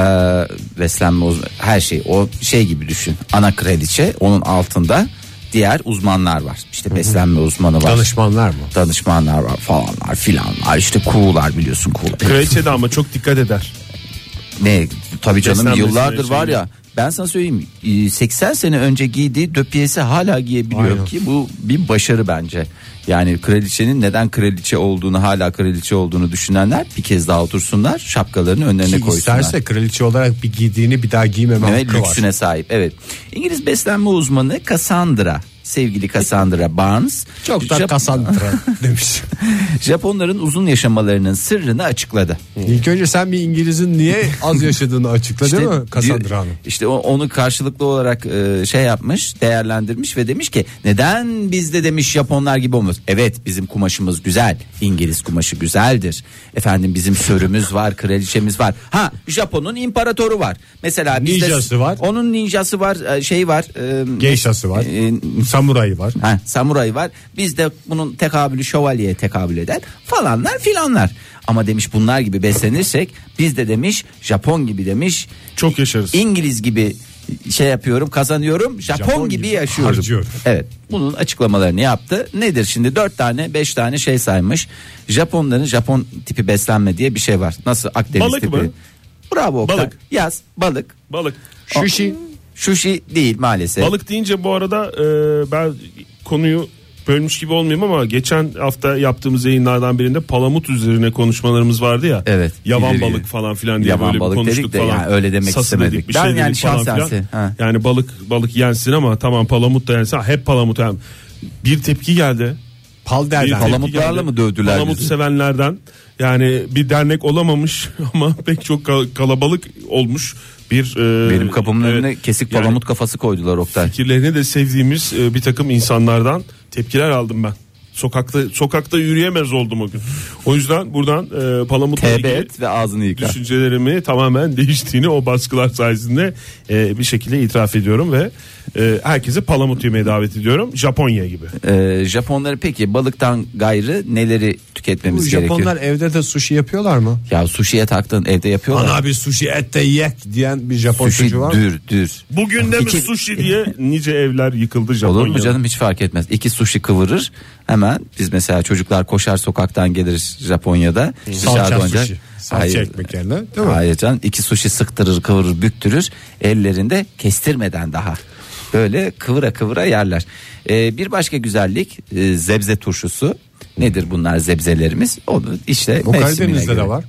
[SPEAKER 4] beslenme uzmanı. Her şey o şey gibi düşün. Ana kraliçe onun altında diğer uzmanlar var. İşte beslenme uzmanı var.
[SPEAKER 2] Danışmanlar mı?
[SPEAKER 4] danışmanlar var falanlar filanlar işte kuğular biliyorsun kuğular.
[SPEAKER 3] Kraliçe de ama çok dikkat eder.
[SPEAKER 4] Ne tabii canım
[SPEAKER 3] Beslenmesine
[SPEAKER 4] yıllardır
[SPEAKER 3] şey-
[SPEAKER 4] var ya ben sana söyleyeyim e, 80 sene önce giydiği döpiyesi hala giyebiliyor ki bu bir başarı bence. Yani kraliçenin neden kraliçe olduğunu hala kraliçe olduğunu düşünenler bir kez daha otursunlar şapkalarını önlerine
[SPEAKER 2] Ki
[SPEAKER 4] koysunlar.
[SPEAKER 2] Şey isterse kraliçe olarak bir giydiğini bir daha giymeme
[SPEAKER 4] ve
[SPEAKER 2] hakkı var.
[SPEAKER 4] lüksüne sahip. Evet. İngiliz beslenme uzmanı Cassandra, sevgili Cassandra Barnes.
[SPEAKER 2] Çok da
[SPEAKER 4] Jap-
[SPEAKER 2] Cassandra şey demiş.
[SPEAKER 4] Japonların uzun yaşamalarının sırrını açıkladı.
[SPEAKER 2] İlk önce sen bir İngiliz'in niye az yaşadığını açıkla değil mi
[SPEAKER 4] diyor-
[SPEAKER 2] Cassandra Hanım?
[SPEAKER 4] işte o- onu karşılıklı olarak e, şey yapmış, değerlendirmiş ve demiş ki neden bizde demiş Japonlar gibi olmuyoruz? Evet bizim kumaşımız güzel. İngiliz kumaşı güzeldir. Efendim bizim sörümüz var, kraliçemiz var. Ha Japon'un imparatoru var. Mesela bizde
[SPEAKER 2] Ninjası var.
[SPEAKER 4] Onun ninjası var, e, şey var. e,
[SPEAKER 2] Geyşası var,
[SPEAKER 4] e,
[SPEAKER 2] samurayı var.
[SPEAKER 4] Ha, samuray var. Bizde bunun tekabülü şövalyeye tekabül eder falanlar filanlar. Ama demiş bunlar gibi beslenirsek biz de demiş Japon gibi demiş
[SPEAKER 3] Çok yaşarız.
[SPEAKER 4] İngiliz gibi şey yapıyorum kazanıyorum Japon,
[SPEAKER 2] Japon
[SPEAKER 4] gibi,
[SPEAKER 2] gibi
[SPEAKER 4] yaşıyorum.
[SPEAKER 2] harcıyorum.
[SPEAKER 4] Evet bunun açıklamalarını yaptı. Nedir şimdi dört tane beş tane şey saymış. Japonların Japon tipi beslenme diye bir şey var. Nasıl Akdeniz
[SPEAKER 3] Balık
[SPEAKER 4] tipi.
[SPEAKER 3] mı?
[SPEAKER 4] Bravo Oktay.
[SPEAKER 3] Balık.
[SPEAKER 4] Yaz balık.
[SPEAKER 3] Balık.
[SPEAKER 2] Şuşi.
[SPEAKER 4] Sushi değil maalesef.
[SPEAKER 3] Balık deyince bu arada e, ben konuyu bölmüş gibi olmayayım ama geçen hafta yaptığımız yayınlardan birinde palamut üzerine konuşmalarımız vardı ya.
[SPEAKER 4] Evet.
[SPEAKER 3] Yavan
[SPEAKER 4] Bilir
[SPEAKER 3] balık
[SPEAKER 4] gibi.
[SPEAKER 3] falan filan diye
[SPEAKER 4] Yavan
[SPEAKER 3] böyle
[SPEAKER 4] balık
[SPEAKER 3] bir konuştuk
[SPEAKER 4] dedik de
[SPEAKER 3] falan.
[SPEAKER 4] yani öyle demek
[SPEAKER 3] Sas dedik,
[SPEAKER 4] istemedik.
[SPEAKER 3] bir şey
[SPEAKER 4] Ben
[SPEAKER 3] dedik
[SPEAKER 4] yani
[SPEAKER 3] falan
[SPEAKER 4] şahsen-
[SPEAKER 3] filan.
[SPEAKER 4] ha.
[SPEAKER 3] Yani balık balık yensin ama tamam palamut da yensin. Ha, Hep palamut yani. Bir tepki geldi.
[SPEAKER 2] Pal
[SPEAKER 3] Bir
[SPEAKER 2] derden.
[SPEAKER 3] tepki
[SPEAKER 4] Palamutlarla
[SPEAKER 3] geldi.
[SPEAKER 4] mı dövdüler
[SPEAKER 3] Palamut
[SPEAKER 4] bizi?
[SPEAKER 3] sevenlerden yani bir dernek olamamış ama pek çok kal- kalabalık olmuş bir e,
[SPEAKER 4] Benim kapımın
[SPEAKER 3] evet,
[SPEAKER 4] önüne kesik
[SPEAKER 3] yani-
[SPEAKER 4] palamut kafası koydular Oktay.
[SPEAKER 3] fikirlerini de sevdiğimiz e, bir takım insanlardan tepkiler aldım ben. Sokakta sokakta yürüyemez oldum o gün. O yüzden buradan e, Palamut'la
[SPEAKER 4] Tevbe
[SPEAKER 3] ilgili
[SPEAKER 4] et ve ağzını yıka.
[SPEAKER 3] düşüncelerimi tamamen değiştiğini o baskılar sayesinde e, bir şekilde itiraf ediyorum ve e, herkese Palamut yemeye davet ediyorum. Japonya gibi.
[SPEAKER 4] Ee, Japonları peki balıktan gayrı neleri
[SPEAKER 2] Bu
[SPEAKER 4] tüketmemiz gerekiyor?
[SPEAKER 2] Japonlar evde de sushi yapıyorlar mı?
[SPEAKER 4] Ya sushi'ye taktın evde yapıyorlar.
[SPEAKER 2] Bana bir sushi et de yek diyen bir Japon
[SPEAKER 4] sushi
[SPEAKER 2] çocuğu var. mı?
[SPEAKER 4] dür dür.
[SPEAKER 3] Bugün de mi
[SPEAKER 4] İki-
[SPEAKER 3] sushi diye nice evler yıkıldı Japonya'da.
[SPEAKER 4] Olur mu canım hiç fark etmez. İki sushi kıvırır hemen biz mesela çocuklar koşar sokaktan geliriz Japonya'da. Dışarıda
[SPEAKER 2] Salça
[SPEAKER 4] oynayacak.
[SPEAKER 2] sushi. Salça
[SPEAKER 4] Hayır.
[SPEAKER 2] ekmek yerine değil mi?
[SPEAKER 4] Hayır canım iki sushi sıktırır kıvırır büktürür ellerinde kestirmeden daha böyle kıvıra kıvıra yerler. Ee, bir başka güzellik e, zebze turşusu. Nedir bunlar zebzelerimiz? Onu işte
[SPEAKER 2] Bu
[SPEAKER 4] mevsimine
[SPEAKER 2] Karadeniz'de
[SPEAKER 4] göre.
[SPEAKER 2] de var.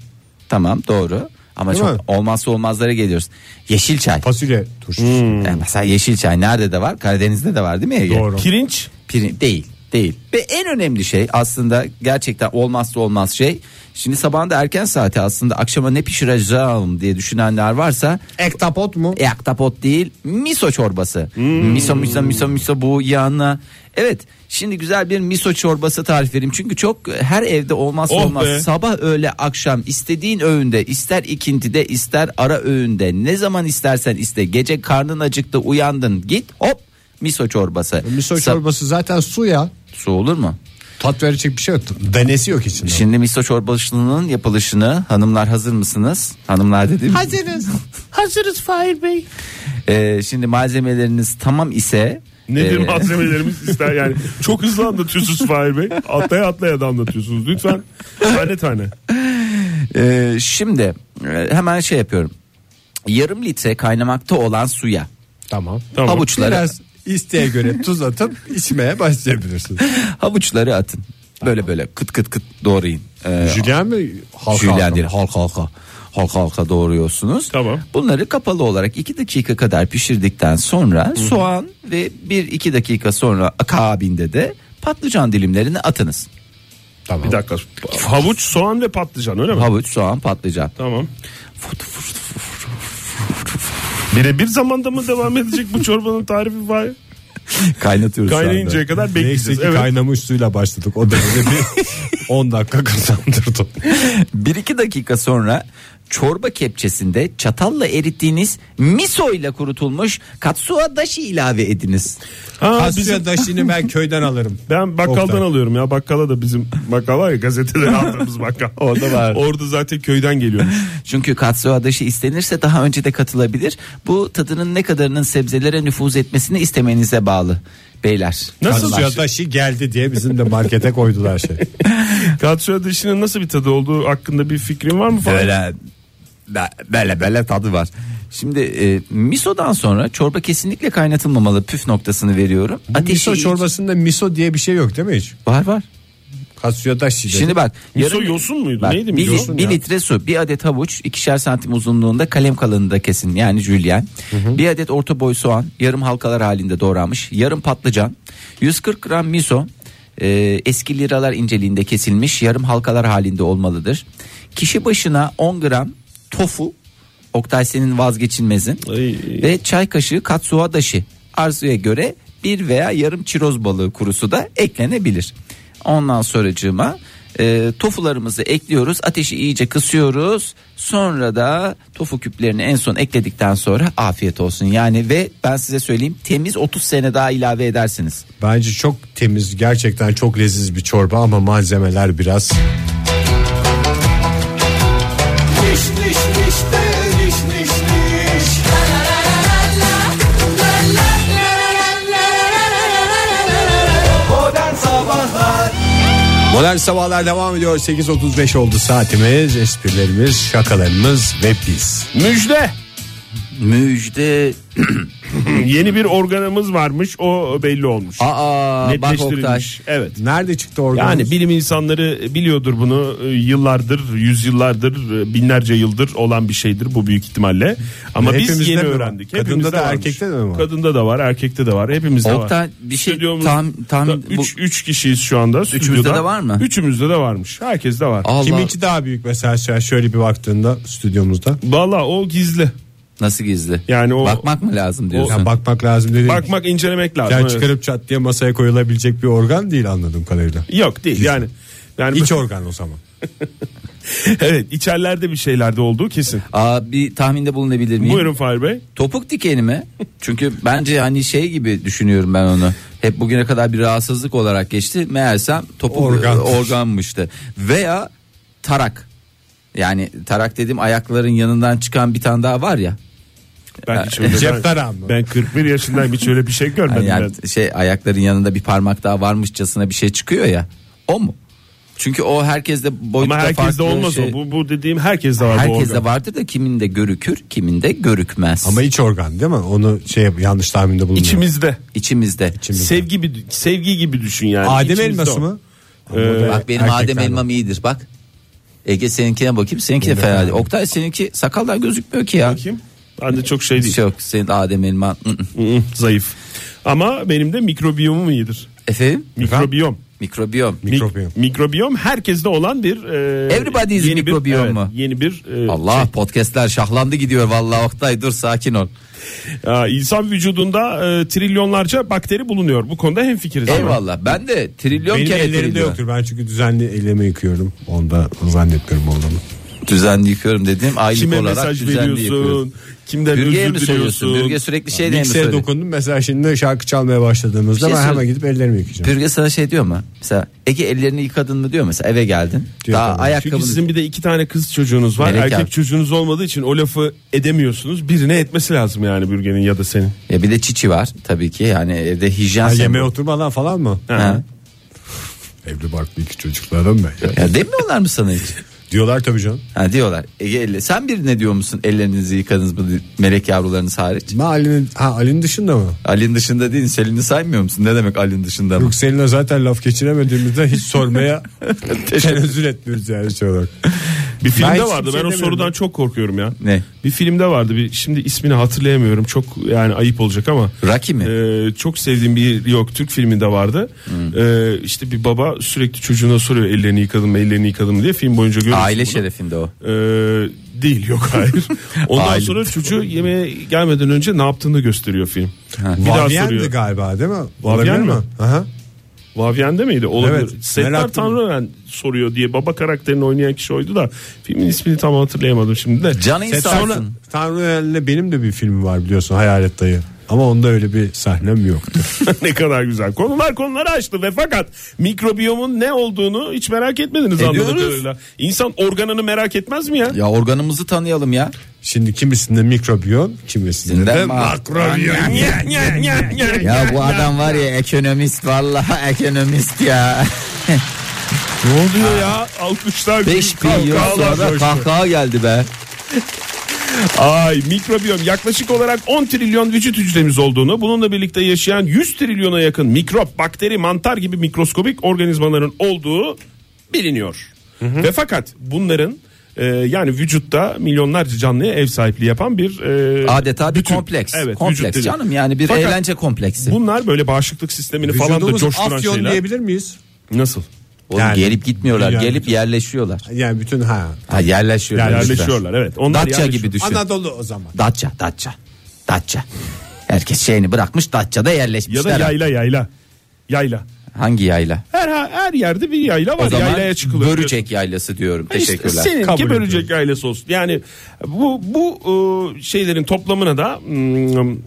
[SPEAKER 4] Tamam doğru. Ama
[SPEAKER 2] Değil
[SPEAKER 4] çok
[SPEAKER 2] mi?
[SPEAKER 4] olmazsa olmazlara geliyoruz. Yeşil çay.
[SPEAKER 2] Fasulye turşusu.
[SPEAKER 4] Yani mesela yeşil çay nerede de var? Karadeniz'de de var değil mi Ege?
[SPEAKER 2] Doğru.
[SPEAKER 3] Pirinç
[SPEAKER 4] Pirin- değil değil. Ve en önemli şey aslında gerçekten olmazsa olmaz şey. Şimdi sabahın da erken saati aslında akşama ne pişireceğim diye düşünenler varsa
[SPEAKER 2] Ektapot mu?
[SPEAKER 4] e, aktapot değil miso çorbası.
[SPEAKER 3] Hmm.
[SPEAKER 4] Miso miso miso miso bu yanına. Evet şimdi güzel bir miso çorbası tarif vereyim. Çünkü çok her evde olmazsa
[SPEAKER 3] Oh
[SPEAKER 4] olmaz.
[SPEAKER 3] be.
[SPEAKER 4] Sabah öğle akşam istediğin öğünde ister ikintide ister ara öğünde ne zaman istersen iste. Gece karnın acıktı uyandın git hop miso çorbası.
[SPEAKER 2] Miso
[SPEAKER 4] Sa-
[SPEAKER 2] çorbası zaten su ya.
[SPEAKER 4] Su olur mu?
[SPEAKER 2] Tat verecek bir şey yok. Denesi yok içinde.
[SPEAKER 4] Şimdi miso çorbasının yapılışını hanımlar hazır mısınız? Hanımlar dediğim Hazırız.
[SPEAKER 5] Hazırız Fahir Bey.
[SPEAKER 4] Ee, şimdi malzemeleriniz tamam ise
[SPEAKER 3] nedir
[SPEAKER 4] e,
[SPEAKER 3] malzemelerimiz ister yani. Çok hızlı anlatıyorsunuz Fahir Bey. Atlaya atlaya da anlatıyorsunuz. Lütfen tane tane.
[SPEAKER 4] Ee, şimdi e, hemen şey yapıyorum. Yarım litre kaynamakta olan suya
[SPEAKER 2] Tamam.
[SPEAKER 3] Tamam.
[SPEAKER 4] havuçları
[SPEAKER 2] Biraz isteğe göre tuz atıp içmeye başlayabilirsiniz.
[SPEAKER 4] havuçları atın. Böyle böyle kıt kıt kıt doğrayın. Ee,
[SPEAKER 2] Jülyen mi? Halka
[SPEAKER 4] Jülyen
[SPEAKER 2] halka.
[SPEAKER 4] değil halka halka. Halka halka doğruyorsunuz.
[SPEAKER 3] Tamam.
[SPEAKER 4] Bunları kapalı olarak 2 dakika kadar pişirdikten sonra soğan ve 1-2 dakika sonra akabinde de patlıcan dilimlerini atınız.
[SPEAKER 2] Tamam.
[SPEAKER 3] Bir dakika. Havuç, soğan ve patlıcan öyle mi?
[SPEAKER 4] Havuç, soğan, patlıcan.
[SPEAKER 3] Tamam. Birebir zamanda mı devam edecek bu çorbanın tarifi var?
[SPEAKER 4] Kaynatıyoruz şu anda.
[SPEAKER 3] Kaynayinceye kadar
[SPEAKER 2] Neyse
[SPEAKER 3] bekleyeceğiz.
[SPEAKER 2] ki
[SPEAKER 3] Evet.
[SPEAKER 2] kaynamış suyla başladık. O da bize bir 10 dakika kazandırdı.
[SPEAKER 4] 1-2 dakika sonra çorba kepçesinde çatalla erittiğiniz miso ile kurutulmuş katsuo dashi ilave ediniz.
[SPEAKER 3] Ha, bizim,
[SPEAKER 2] Asya daşini ben köyden alırım.
[SPEAKER 3] ben bakkaldan
[SPEAKER 2] Oktay.
[SPEAKER 3] alıyorum ya. Bakkala da bizim bakkal var ya gazeteleri aldığımız bakkal.
[SPEAKER 4] Orada var.
[SPEAKER 3] Orada zaten köyden geliyormuş.
[SPEAKER 4] Çünkü katsuo dashi istenirse daha önce de katılabilir. Bu tadının ne kadarının sebzelere nüfuz etmesini istemenize bağlı beyler.
[SPEAKER 3] Nasıl
[SPEAKER 2] Asya daşı geldi diye bizim de markete koydular şey.
[SPEAKER 3] Katsuya dışının nasıl bir tadı olduğu hakkında bir fikrin var mı falan?
[SPEAKER 4] Böyle be- böyle böyle tadı var. Şimdi e, misodan sonra çorba kesinlikle kaynatılmamalı püf noktasını veriyorum. Ateşi
[SPEAKER 2] miso çorbasında miso diye bir şey yok değil mi hiç?
[SPEAKER 4] var var.
[SPEAKER 2] Katsuya daşı. dedi.
[SPEAKER 4] Şimdi bak
[SPEAKER 3] Miso yosun muydu?
[SPEAKER 4] Bak,
[SPEAKER 3] Neydi
[SPEAKER 4] bir,
[SPEAKER 3] miso?
[SPEAKER 4] lit-
[SPEAKER 3] Yosun
[SPEAKER 4] bir
[SPEAKER 3] ya.
[SPEAKER 4] litre su, bir adet havuç, ikişer santim uzunluğunda kalem kalınlığında kesin yani jülyen. Bir adet orta boy soğan, yarım halkalar halinde doğranmış, yarım patlıcan, 140 gram miso, e, eski liralar inceliğinde kesilmiş, yarım halkalar halinde olmalıdır. Kişi başına 10 gram tofu, Oktay senin vazgeçilmezin
[SPEAKER 3] Ay.
[SPEAKER 4] ve çay kaşığı katsuha daşı arzuya göre bir veya yarım çiroz balığı kurusu da eklenebilir. Ondan sonracığıma e, tofularımızı ekliyoruz ateşi iyice kısıyoruz sonra da tofu küplerini en son ekledikten sonra afiyet olsun yani ve ben size söyleyeyim temiz 30 sene daha ilave edersiniz.
[SPEAKER 2] Bence çok temiz gerçekten çok leziz bir çorba ama malzemeler biraz Modern Sabahlar devam ediyor 8.35 oldu saatimiz esprilerimiz şakalarımız ve biz
[SPEAKER 3] Müjde.
[SPEAKER 4] Müjde.
[SPEAKER 3] Yeni bir organımız varmış o belli olmuş.
[SPEAKER 4] Aa bak Oktay.
[SPEAKER 3] Netleştirilmiş. Evet.
[SPEAKER 2] Nerede çıktı organımız?
[SPEAKER 3] Yani bilim insanları biliyordur bunu E, yıllardır, yüzyıllardır, e, binlerce yıldır olan bir şeydir bu büyük ihtimalle. Ama biz
[SPEAKER 2] Hepimizde
[SPEAKER 3] yeni
[SPEAKER 2] mi var?
[SPEAKER 3] öğrendik.
[SPEAKER 2] Kadında
[SPEAKER 3] Hepimizde
[SPEAKER 2] da,
[SPEAKER 3] varmış.
[SPEAKER 2] erkekte de mi var?
[SPEAKER 3] Kadında da var, erkekte de var. Hepimizde var.
[SPEAKER 4] Oktay bir şey
[SPEAKER 3] Stüdyomuz-
[SPEAKER 4] tam tam
[SPEAKER 3] Da-
[SPEAKER 4] bu,
[SPEAKER 3] üç, üç kişiyiz şu anda.
[SPEAKER 4] Üçümüzde
[SPEAKER 3] stüdyoda.
[SPEAKER 4] de var mı?
[SPEAKER 3] Üçümüzde de varmış. Herkes de var.
[SPEAKER 4] Allah
[SPEAKER 2] Kiminki daha büyük mesela şu an şöyle bir baktığında stüdyomuzda.
[SPEAKER 3] Valla o gizli.
[SPEAKER 4] nasıl gizli?
[SPEAKER 3] Yani o
[SPEAKER 4] Bakmak mı lazım diyorsun?
[SPEAKER 2] Yani bakmak lazım dedi.
[SPEAKER 3] bakmak, incelemek lazım.
[SPEAKER 2] yani
[SPEAKER 3] evet.
[SPEAKER 2] çıkarıp çat diye masaya koyulabilecek bir organ değil anladığım kadarıyla.
[SPEAKER 3] Yok değil yani. Yani
[SPEAKER 2] İç organ o zaman.
[SPEAKER 3] evet içerlerde bir şeylerde olduğu kesin.
[SPEAKER 4] Aa, bir tahminde bulunabilir miyim?
[SPEAKER 3] Buyurun Fahir Bey.
[SPEAKER 4] Topuk dikeni mi? Çünkü bence hani şey gibi düşünüyorum ben onu. Hep bugüne kadar bir rahatsızlık olarak geçti. Meğersem topuk e,
[SPEAKER 2] Organ.
[SPEAKER 4] organmıştı. Veya tarak. Yani tarak dediğim ayakların yanından çıkan bir tane daha var ya.
[SPEAKER 3] Ben hiç öyle-
[SPEAKER 2] Cep
[SPEAKER 3] ben-
[SPEAKER 2] tarağı mı?
[SPEAKER 3] Ben 41 yaşındayım hiç öyle bir şey görmedim.
[SPEAKER 4] Yani
[SPEAKER 3] ben.
[SPEAKER 4] şey ayakların yanında bir parmak daha varmışçasına bir şey çıkıyor ya. O mu? Çünkü o herkeste boyutta
[SPEAKER 3] Ama herkeste
[SPEAKER 4] farklı
[SPEAKER 3] olmaz
[SPEAKER 4] şey.
[SPEAKER 3] o. Bu, bu dediğim herkeste var bu organ.
[SPEAKER 4] Herkeste vardır da kiminde görükür, kiminde görükmez.
[SPEAKER 2] Ama iç organ değil mi? Onu şey yap- yanlış tahminde bulunuyor.
[SPEAKER 3] İçimizde.
[SPEAKER 4] içimizde.
[SPEAKER 2] İçimizde.
[SPEAKER 3] Sevgi gibi sevgi gibi düşün yani.
[SPEAKER 2] Adem
[SPEAKER 3] İçimizde
[SPEAKER 2] elması
[SPEAKER 3] o.
[SPEAKER 2] mı?
[SPEAKER 3] Ee,
[SPEAKER 4] Bak benim
[SPEAKER 2] Erkekler
[SPEAKER 4] Adem
[SPEAKER 2] var.
[SPEAKER 4] elmam iyidir bak. Ege seninkine bakayım. Seninki de fena değil. Oktay seninki sakallar gözükmüyor ki ya.
[SPEAKER 3] Bakayım. Ben de çok şey değil.
[SPEAKER 4] Hiç yok senin Adem ı-ı. elman. Hı hı.
[SPEAKER 3] Hı hı, Zayıf. Ama benim de mikrobiyomum iyidir.
[SPEAKER 4] Efendim?
[SPEAKER 3] Mikrobiyom.
[SPEAKER 4] Mikrobiyom.
[SPEAKER 3] Mik-
[SPEAKER 2] Mikrobiyom.
[SPEAKER 3] mikrobiyom. herkeste olan bir e,
[SPEAKER 4] Everybody's
[SPEAKER 3] bir-
[SPEAKER 4] mikrobiyom
[SPEAKER 3] evet,
[SPEAKER 4] mu?
[SPEAKER 3] Yeni bir e,
[SPEAKER 4] Allah podcastler şahlandı gidiyor vallahi Oktay dur sakin ol.
[SPEAKER 3] Aa, e, insan vücudunda e, trilyonlarca bakteri bulunuyor. Bu konuda hemfikiriz. ama.
[SPEAKER 4] Eyvallah ben de trilyon
[SPEAKER 2] Benim
[SPEAKER 4] kere
[SPEAKER 2] ellerimde
[SPEAKER 4] trilyon.
[SPEAKER 2] yoktur. Ben çünkü düzenli elimi yıkıyorum. Onda zannetmiyorum olduğunu.
[SPEAKER 4] Düzenli yıkıyorum dediğim aylık
[SPEAKER 3] Kime
[SPEAKER 4] olarak
[SPEAKER 3] mesaj
[SPEAKER 4] düzenli yıkıyorum.
[SPEAKER 3] veriyorsun? Kimden
[SPEAKER 4] Bürge'ye mi
[SPEAKER 3] özür diliyorsun?
[SPEAKER 4] soruyorsun? Bürge sürekli şey diye mi
[SPEAKER 2] Miksere
[SPEAKER 4] söylüyor?
[SPEAKER 2] dokundum. Mesela şimdi şarkı çalmaya başladığımızda
[SPEAKER 4] Bir şey
[SPEAKER 2] ben hemen
[SPEAKER 4] söyle-
[SPEAKER 2] gidip ellerimi yıkayacağım.
[SPEAKER 4] Bürge sana şey diyor mu? Mesela Ege ellerini yıkadın mı diyor mesela eve geldin.
[SPEAKER 2] Diyor
[SPEAKER 4] daha
[SPEAKER 2] tabii.
[SPEAKER 4] ayakkabını
[SPEAKER 3] Çünkü sizin bir de iki tane kız çocuğunuz var.
[SPEAKER 4] Melek
[SPEAKER 3] Erkek
[SPEAKER 4] abi.
[SPEAKER 3] çocuğunuz olmadığı için o lafı edemiyorsunuz. Birine etmesi lazım yani bürgenin ya da senin.
[SPEAKER 4] Ya bir de çiçi var tabii ki yani evde hijyen
[SPEAKER 2] Ha,
[SPEAKER 4] sembolü.
[SPEAKER 2] yemeğe oturmadan falan mı?
[SPEAKER 4] Ha.
[SPEAKER 2] Evli barklı iki çocuklarım ben.
[SPEAKER 4] Ya demiyorlar mı sana hiç?
[SPEAKER 2] Diyorlar tabii canım.
[SPEAKER 4] Ha diyorlar. Ege elle. Sen birine diyor musun ellerinizi yıkadınız mı melek yavrularınız hariç?
[SPEAKER 2] Ben Ali'nin, ha, Ali'nin dışında mı?
[SPEAKER 4] Ali'nin dışında değil Selin'i saymıyor musun? Ne demek Ali'nin dışında mı?
[SPEAKER 2] Yok seninle zaten laf geçiremediğimizde hiç sormaya tenezzül etmiyoruz yani şey olarak.
[SPEAKER 3] Bir filmde
[SPEAKER 2] hiç kimseye
[SPEAKER 3] vardı. Ben o
[SPEAKER 2] demiyorum
[SPEAKER 3] sorudan
[SPEAKER 2] ya.
[SPEAKER 3] çok korkuyorum ya.
[SPEAKER 4] Ne?
[SPEAKER 3] Bir filmde vardı. Bir, şimdi ismini hatırlayamıyorum. Çok yani ayıp olacak ama.
[SPEAKER 4] Rocky mi?
[SPEAKER 3] Ee, çok sevdiğim bir yok Türk filminde vardı.
[SPEAKER 4] Hmm.
[SPEAKER 3] Ee, işte bir baba sürekli çocuğuna soruyor ellerini yıkadın mı ellerini yıkadın mı diye film boyunca görüyorsun.
[SPEAKER 4] Aile
[SPEAKER 3] bunu.
[SPEAKER 4] şerefinde o.
[SPEAKER 3] Ee, değil yok hayır. Ondan
[SPEAKER 4] Aile.
[SPEAKER 3] sonra çocuğu yemeğe gelmeden önce ne yaptığını gösteriyor film. Bir daha
[SPEAKER 2] Vavyen'di
[SPEAKER 3] soruyor.
[SPEAKER 2] galiba değil mi?
[SPEAKER 3] Vavyen
[SPEAKER 2] Olabilir
[SPEAKER 3] mi?
[SPEAKER 2] mi? Aha.
[SPEAKER 3] Vavyen'de miydi? Olabilir.
[SPEAKER 2] Evet,
[SPEAKER 3] Settar
[SPEAKER 2] merak
[SPEAKER 3] Tanrıven soruyor diye baba karakterini oynayan kişi oydu da filmin ismini tam hatırlayamadım şimdi de.
[SPEAKER 4] Canı
[SPEAKER 2] Sonra
[SPEAKER 4] insansın.
[SPEAKER 2] Tanrıel'le benim de bir filmi var biliyorsun Hayalet Dayı. Ama onda öyle bir sahnem yoktu.
[SPEAKER 3] ne kadar güzel. Konular konuları açtı ve fakat mikrobiyomun ne olduğunu hiç merak etmediniz
[SPEAKER 4] Ediyoruz.
[SPEAKER 3] anladığım kadarıyla. İnsan organını merak etmez mi ya?
[SPEAKER 4] Ya organımızı tanıyalım ya.
[SPEAKER 2] Şimdi kimisinde mikrobiyon, kimisinde
[SPEAKER 4] Sizden
[SPEAKER 2] de
[SPEAKER 4] ma-
[SPEAKER 2] makrobiyon.
[SPEAKER 4] Ya bu adam var ya ekonomist vallahi ekonomist ya.
[SPEAKER 3] Ne oluyor ya? Alkışlar.
[SPEAKER 4] 5 bin yıl
[SPEAKER 3] kahkahalar
[SPEAKER 4] sonra
[SPEAKER 3] coştu.
[SPEAKER 4] kahkaha geldi be.
[SPEAKER 3] Ay mikrobiyom yaklaşık olarak 10 trilyon vücut hücremiz olduğunu bununla birlikte yaşayan 100 trilyona yakın mikrop, bakteri, mantar gibi mikroskobik organizmaların olduğu biliniyor. Ve fakat bunların e, yani vücutta milyonlarca canlıya ev sahipliği yapan bir e,
[SPEAKER 4] Adeta bir
[SPEAKER 3] bütün.
[SPEAKER 4] kompleks.
[SPEAKER 3] Evet, vücut
[SPEAKER 4] kompleks
[SPEAKER 3] dedi.
[SPEAKER 4] canım yani bir
[SPEAKER 3] Fakat
[SPEAKER 4] eğlence kompleksi.
[SPEAKER 3] Bunlar böyle bağışıklık sistemini falan da
[SPEAKER 2] Vücudumuz
[SPEAKER 3] coşturan
[SPEAKER 2] afyon
[SPEAKER 3] şeyler.
[SPEAKER 2] diyebilir miyiz?
[SPEAKER 3] Nasıl?
[SPEAKER 4] Oğlum
[SPEAKER 2] Yani-
[SPEAKER 4] gelip gitmiyorlar.
[SPEAKER 2] Yani-
[SPEAKER 4] gelip yerleşiyorlar.
[SPEAKER 2] Yani bütün ha.
[SPEAKER 4] Ha yerleşiyorlar.
[SPEAKER 3] Yerleşiyorlar evet. Onlar
[SPEAKER 4] Datça
[SPEAKER 3] yerleşiyor.
[SPEAKER 4] gibi düşün.
[SPEAKER 2] Anadolu o zaman.
[SPEAKER 4] Datça, Datça. Datça. Herkes şeyini bırakmış Datça'da
[SPEAKER 3] Ya da
[SPEAKER 4] yerleşmişler.
[SPEAKER 3] yayla yayla. Yayla.
[SPEAKER 4] Hangi yayla?
[SPEAKER 3] Her her yerde bir yayla
[SPEAKER 4] O
[SPEAKER 3] var.
[SPEAKER 4] zaman
[SPEAKER 3] Yaylaya çıkılıyor.
[SPEAKER 4] Börecek yaylası diyorum.
[SPEAKER 3] İşte
[SPEAKER 4] Teşekkürler.
[SPEAKER 2] Kabul
[SPEAKER 3] seninki
[SPEAKER 2] ediyorum.
[SPEAKER 3] bölecek ailesi olsun. Yani bu bu e, şeylerin toplamına da mm,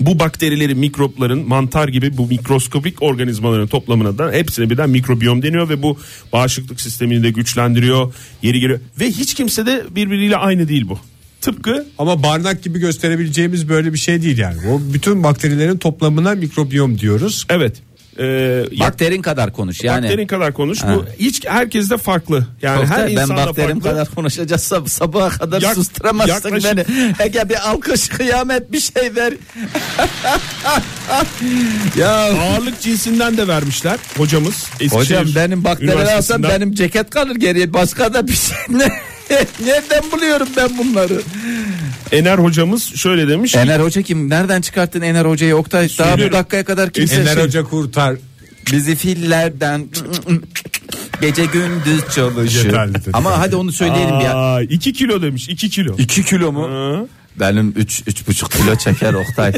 [SPEAKER 3] bu bakterileri, mikropların, mantar gibi bu mikroskopik organizmaların toplamına da hepsine birden mikrobiyom deniyor ve bu bağışıklık sistemini de güçlendiriyor. Yeri geliyor ve hiç kimse de birbiriyle aynı değil bu. Tıpkı
[SPEAKER 2] Ama barnak gibi gösterebileceğimiz böyle bir şey değil yani. O bütün bakterilerin toplamına mikrobiyom diyoruz.
[SPEAKER 3] evet e, yak-
[SPEAKER 4] Bakterin kadar konuş yani.
[SPEAKER 3] bakterin kadar konuş.
[SPEAKER 4] Ha.
[SPEAKER 3] Bu hiç herkes de farklı. Yani
[SPEAKER 4] Doktor,
[SPEAKER 3] her
[SPEAKER 4] ben
[SPEAKER 3] insanda
[SPEAKER 4] bakterim
[SPEAKER 3] farklı.
[SPEAKER 4] kadar konuşacağız sab- sabaha kadar
[SPEAKER 3] Yak-
[SPEAKER 4] susturamazsın
[SPEAKER 3] yaklaşık-
[SPEAKER 4] beni. Ege bir alkış kıyamet bir şey ver. ya
[SPEAKER 3] Ağırlık cinsinden de vermişler hocamız. Eskişehir
[SPEAKER 4] hocam benim bakteri alsam
[SPEAKER 3] Üniversitesi'nden.
[SPEAKER 4] benim ceket kalır geriye başka da bir şey ne? Nereden buluyorum ben bunları?
[SPEAKER 3] Ener hocamız şöyle demiş. ki,
[SPEAKER 4] Ener Hoca kim? Nereden çıkarttın Ener Hoca'yı Oktay? Daha bu
[SPEAKER 3] Söylüyorum.
[SPEAKER 4] dakikaya kadar kimse
[SPEAKER 2] Enler
[SPEAKER 4] şey-
[SPEAKER 2] Hoca kurtar.
[SPEAKER 4] Bizi fillerden gece gündüz çalışıyor.
[SPEAKER 2] Yeterli dedi.
[SPEAKER 4] Ama hadi onu söyleyelim bir ya.
[SPEAKER 3] Aa, 2 kilo demiş 2 kilo.
[SPEAKER 4] 2 kilo mu? Benim 3 3,5 kilo çeker Oktay.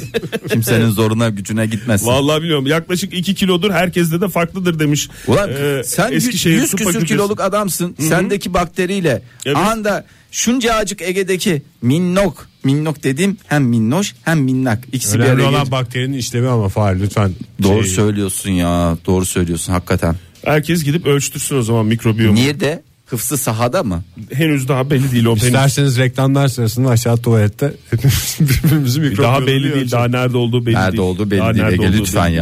[SPEAKER 4] Kimsenin zoruna gücüne gitmesin.
[SPEAKER 3] Vallahi biliyorum yaklaşık 2 kilodur herkeste de farklıdır demiş.
[SPEAKER 4] Ulan
[SPEAKER 3] Ee,
[SPEAKER 4] sen
[SPEAKER 3] Eskişehir
[SPEAKER 4] 100
[SPEAKER 3] Tıp
[SPEAKER 4] küsür
[SPEAKER 3] Fakültesi.
[SPEAKER 4] kiloluk adamsın. Sendeki bakteriyle
[SPEAKER 3] Evet.
[SPEAKER 4] anda şuncacık Ege'deki minnok minnok dediğim hem minnoş hem minnak ikisi bir
[SPEAKER 2] Önemli
[SPEAKER 4] araya
[SPEAKER 2] olan
[SPEAKER 4] gelince-
[SPEAKER 2] bakterinin işlemi ama Fahir lütfen.
[SPEAKER 4] Doğru
[SPEAKER 2] Şey,
[SPEAKER 4] söylüyorsun ya. Doğru söylüyorsun hakikaten.
[SPEAKER 3] Herkes gidip ölçtürsün o zaman mikrobiyomu.
[SPEAKER 4] Nerede? Hıfzı sahada mı?
[SPEAKER 3] Henüz daha belli değil o henüz.
[SPEAKER 2] İsterseniz reklamlar sırasında aşağı tuvalette hepimiz birbirimizi mikrofonu
[SPEAKER 3] Daha belli değil. Daha nerede olduğu belli
[SPEAKER 4] Nerede
[SPEAKER 3] değil.
[SPEAKER 4] olduğu belli
[SPEAKER 3] Daha
[SPEAKER 4] değil.
[SPEAKER 3] nerede
[SPEAKER 4] Ege,
[SPEAKER 3] olduğu
[SPEAKER 4] lütfen
[SPEAKER 3] belli değil.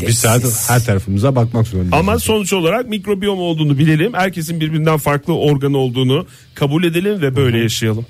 [SPEAKER 4] ya.
[SPEAKER 2] Bir saat her tarafımıza bakmak zorundayız.
[SPEAKER 3] Ama sonuç olarak mikrobiyom olduğunu bilelim. Herkesin birbirinden farklı organı olduğunu kabul edelim ve böyle yaşayalım.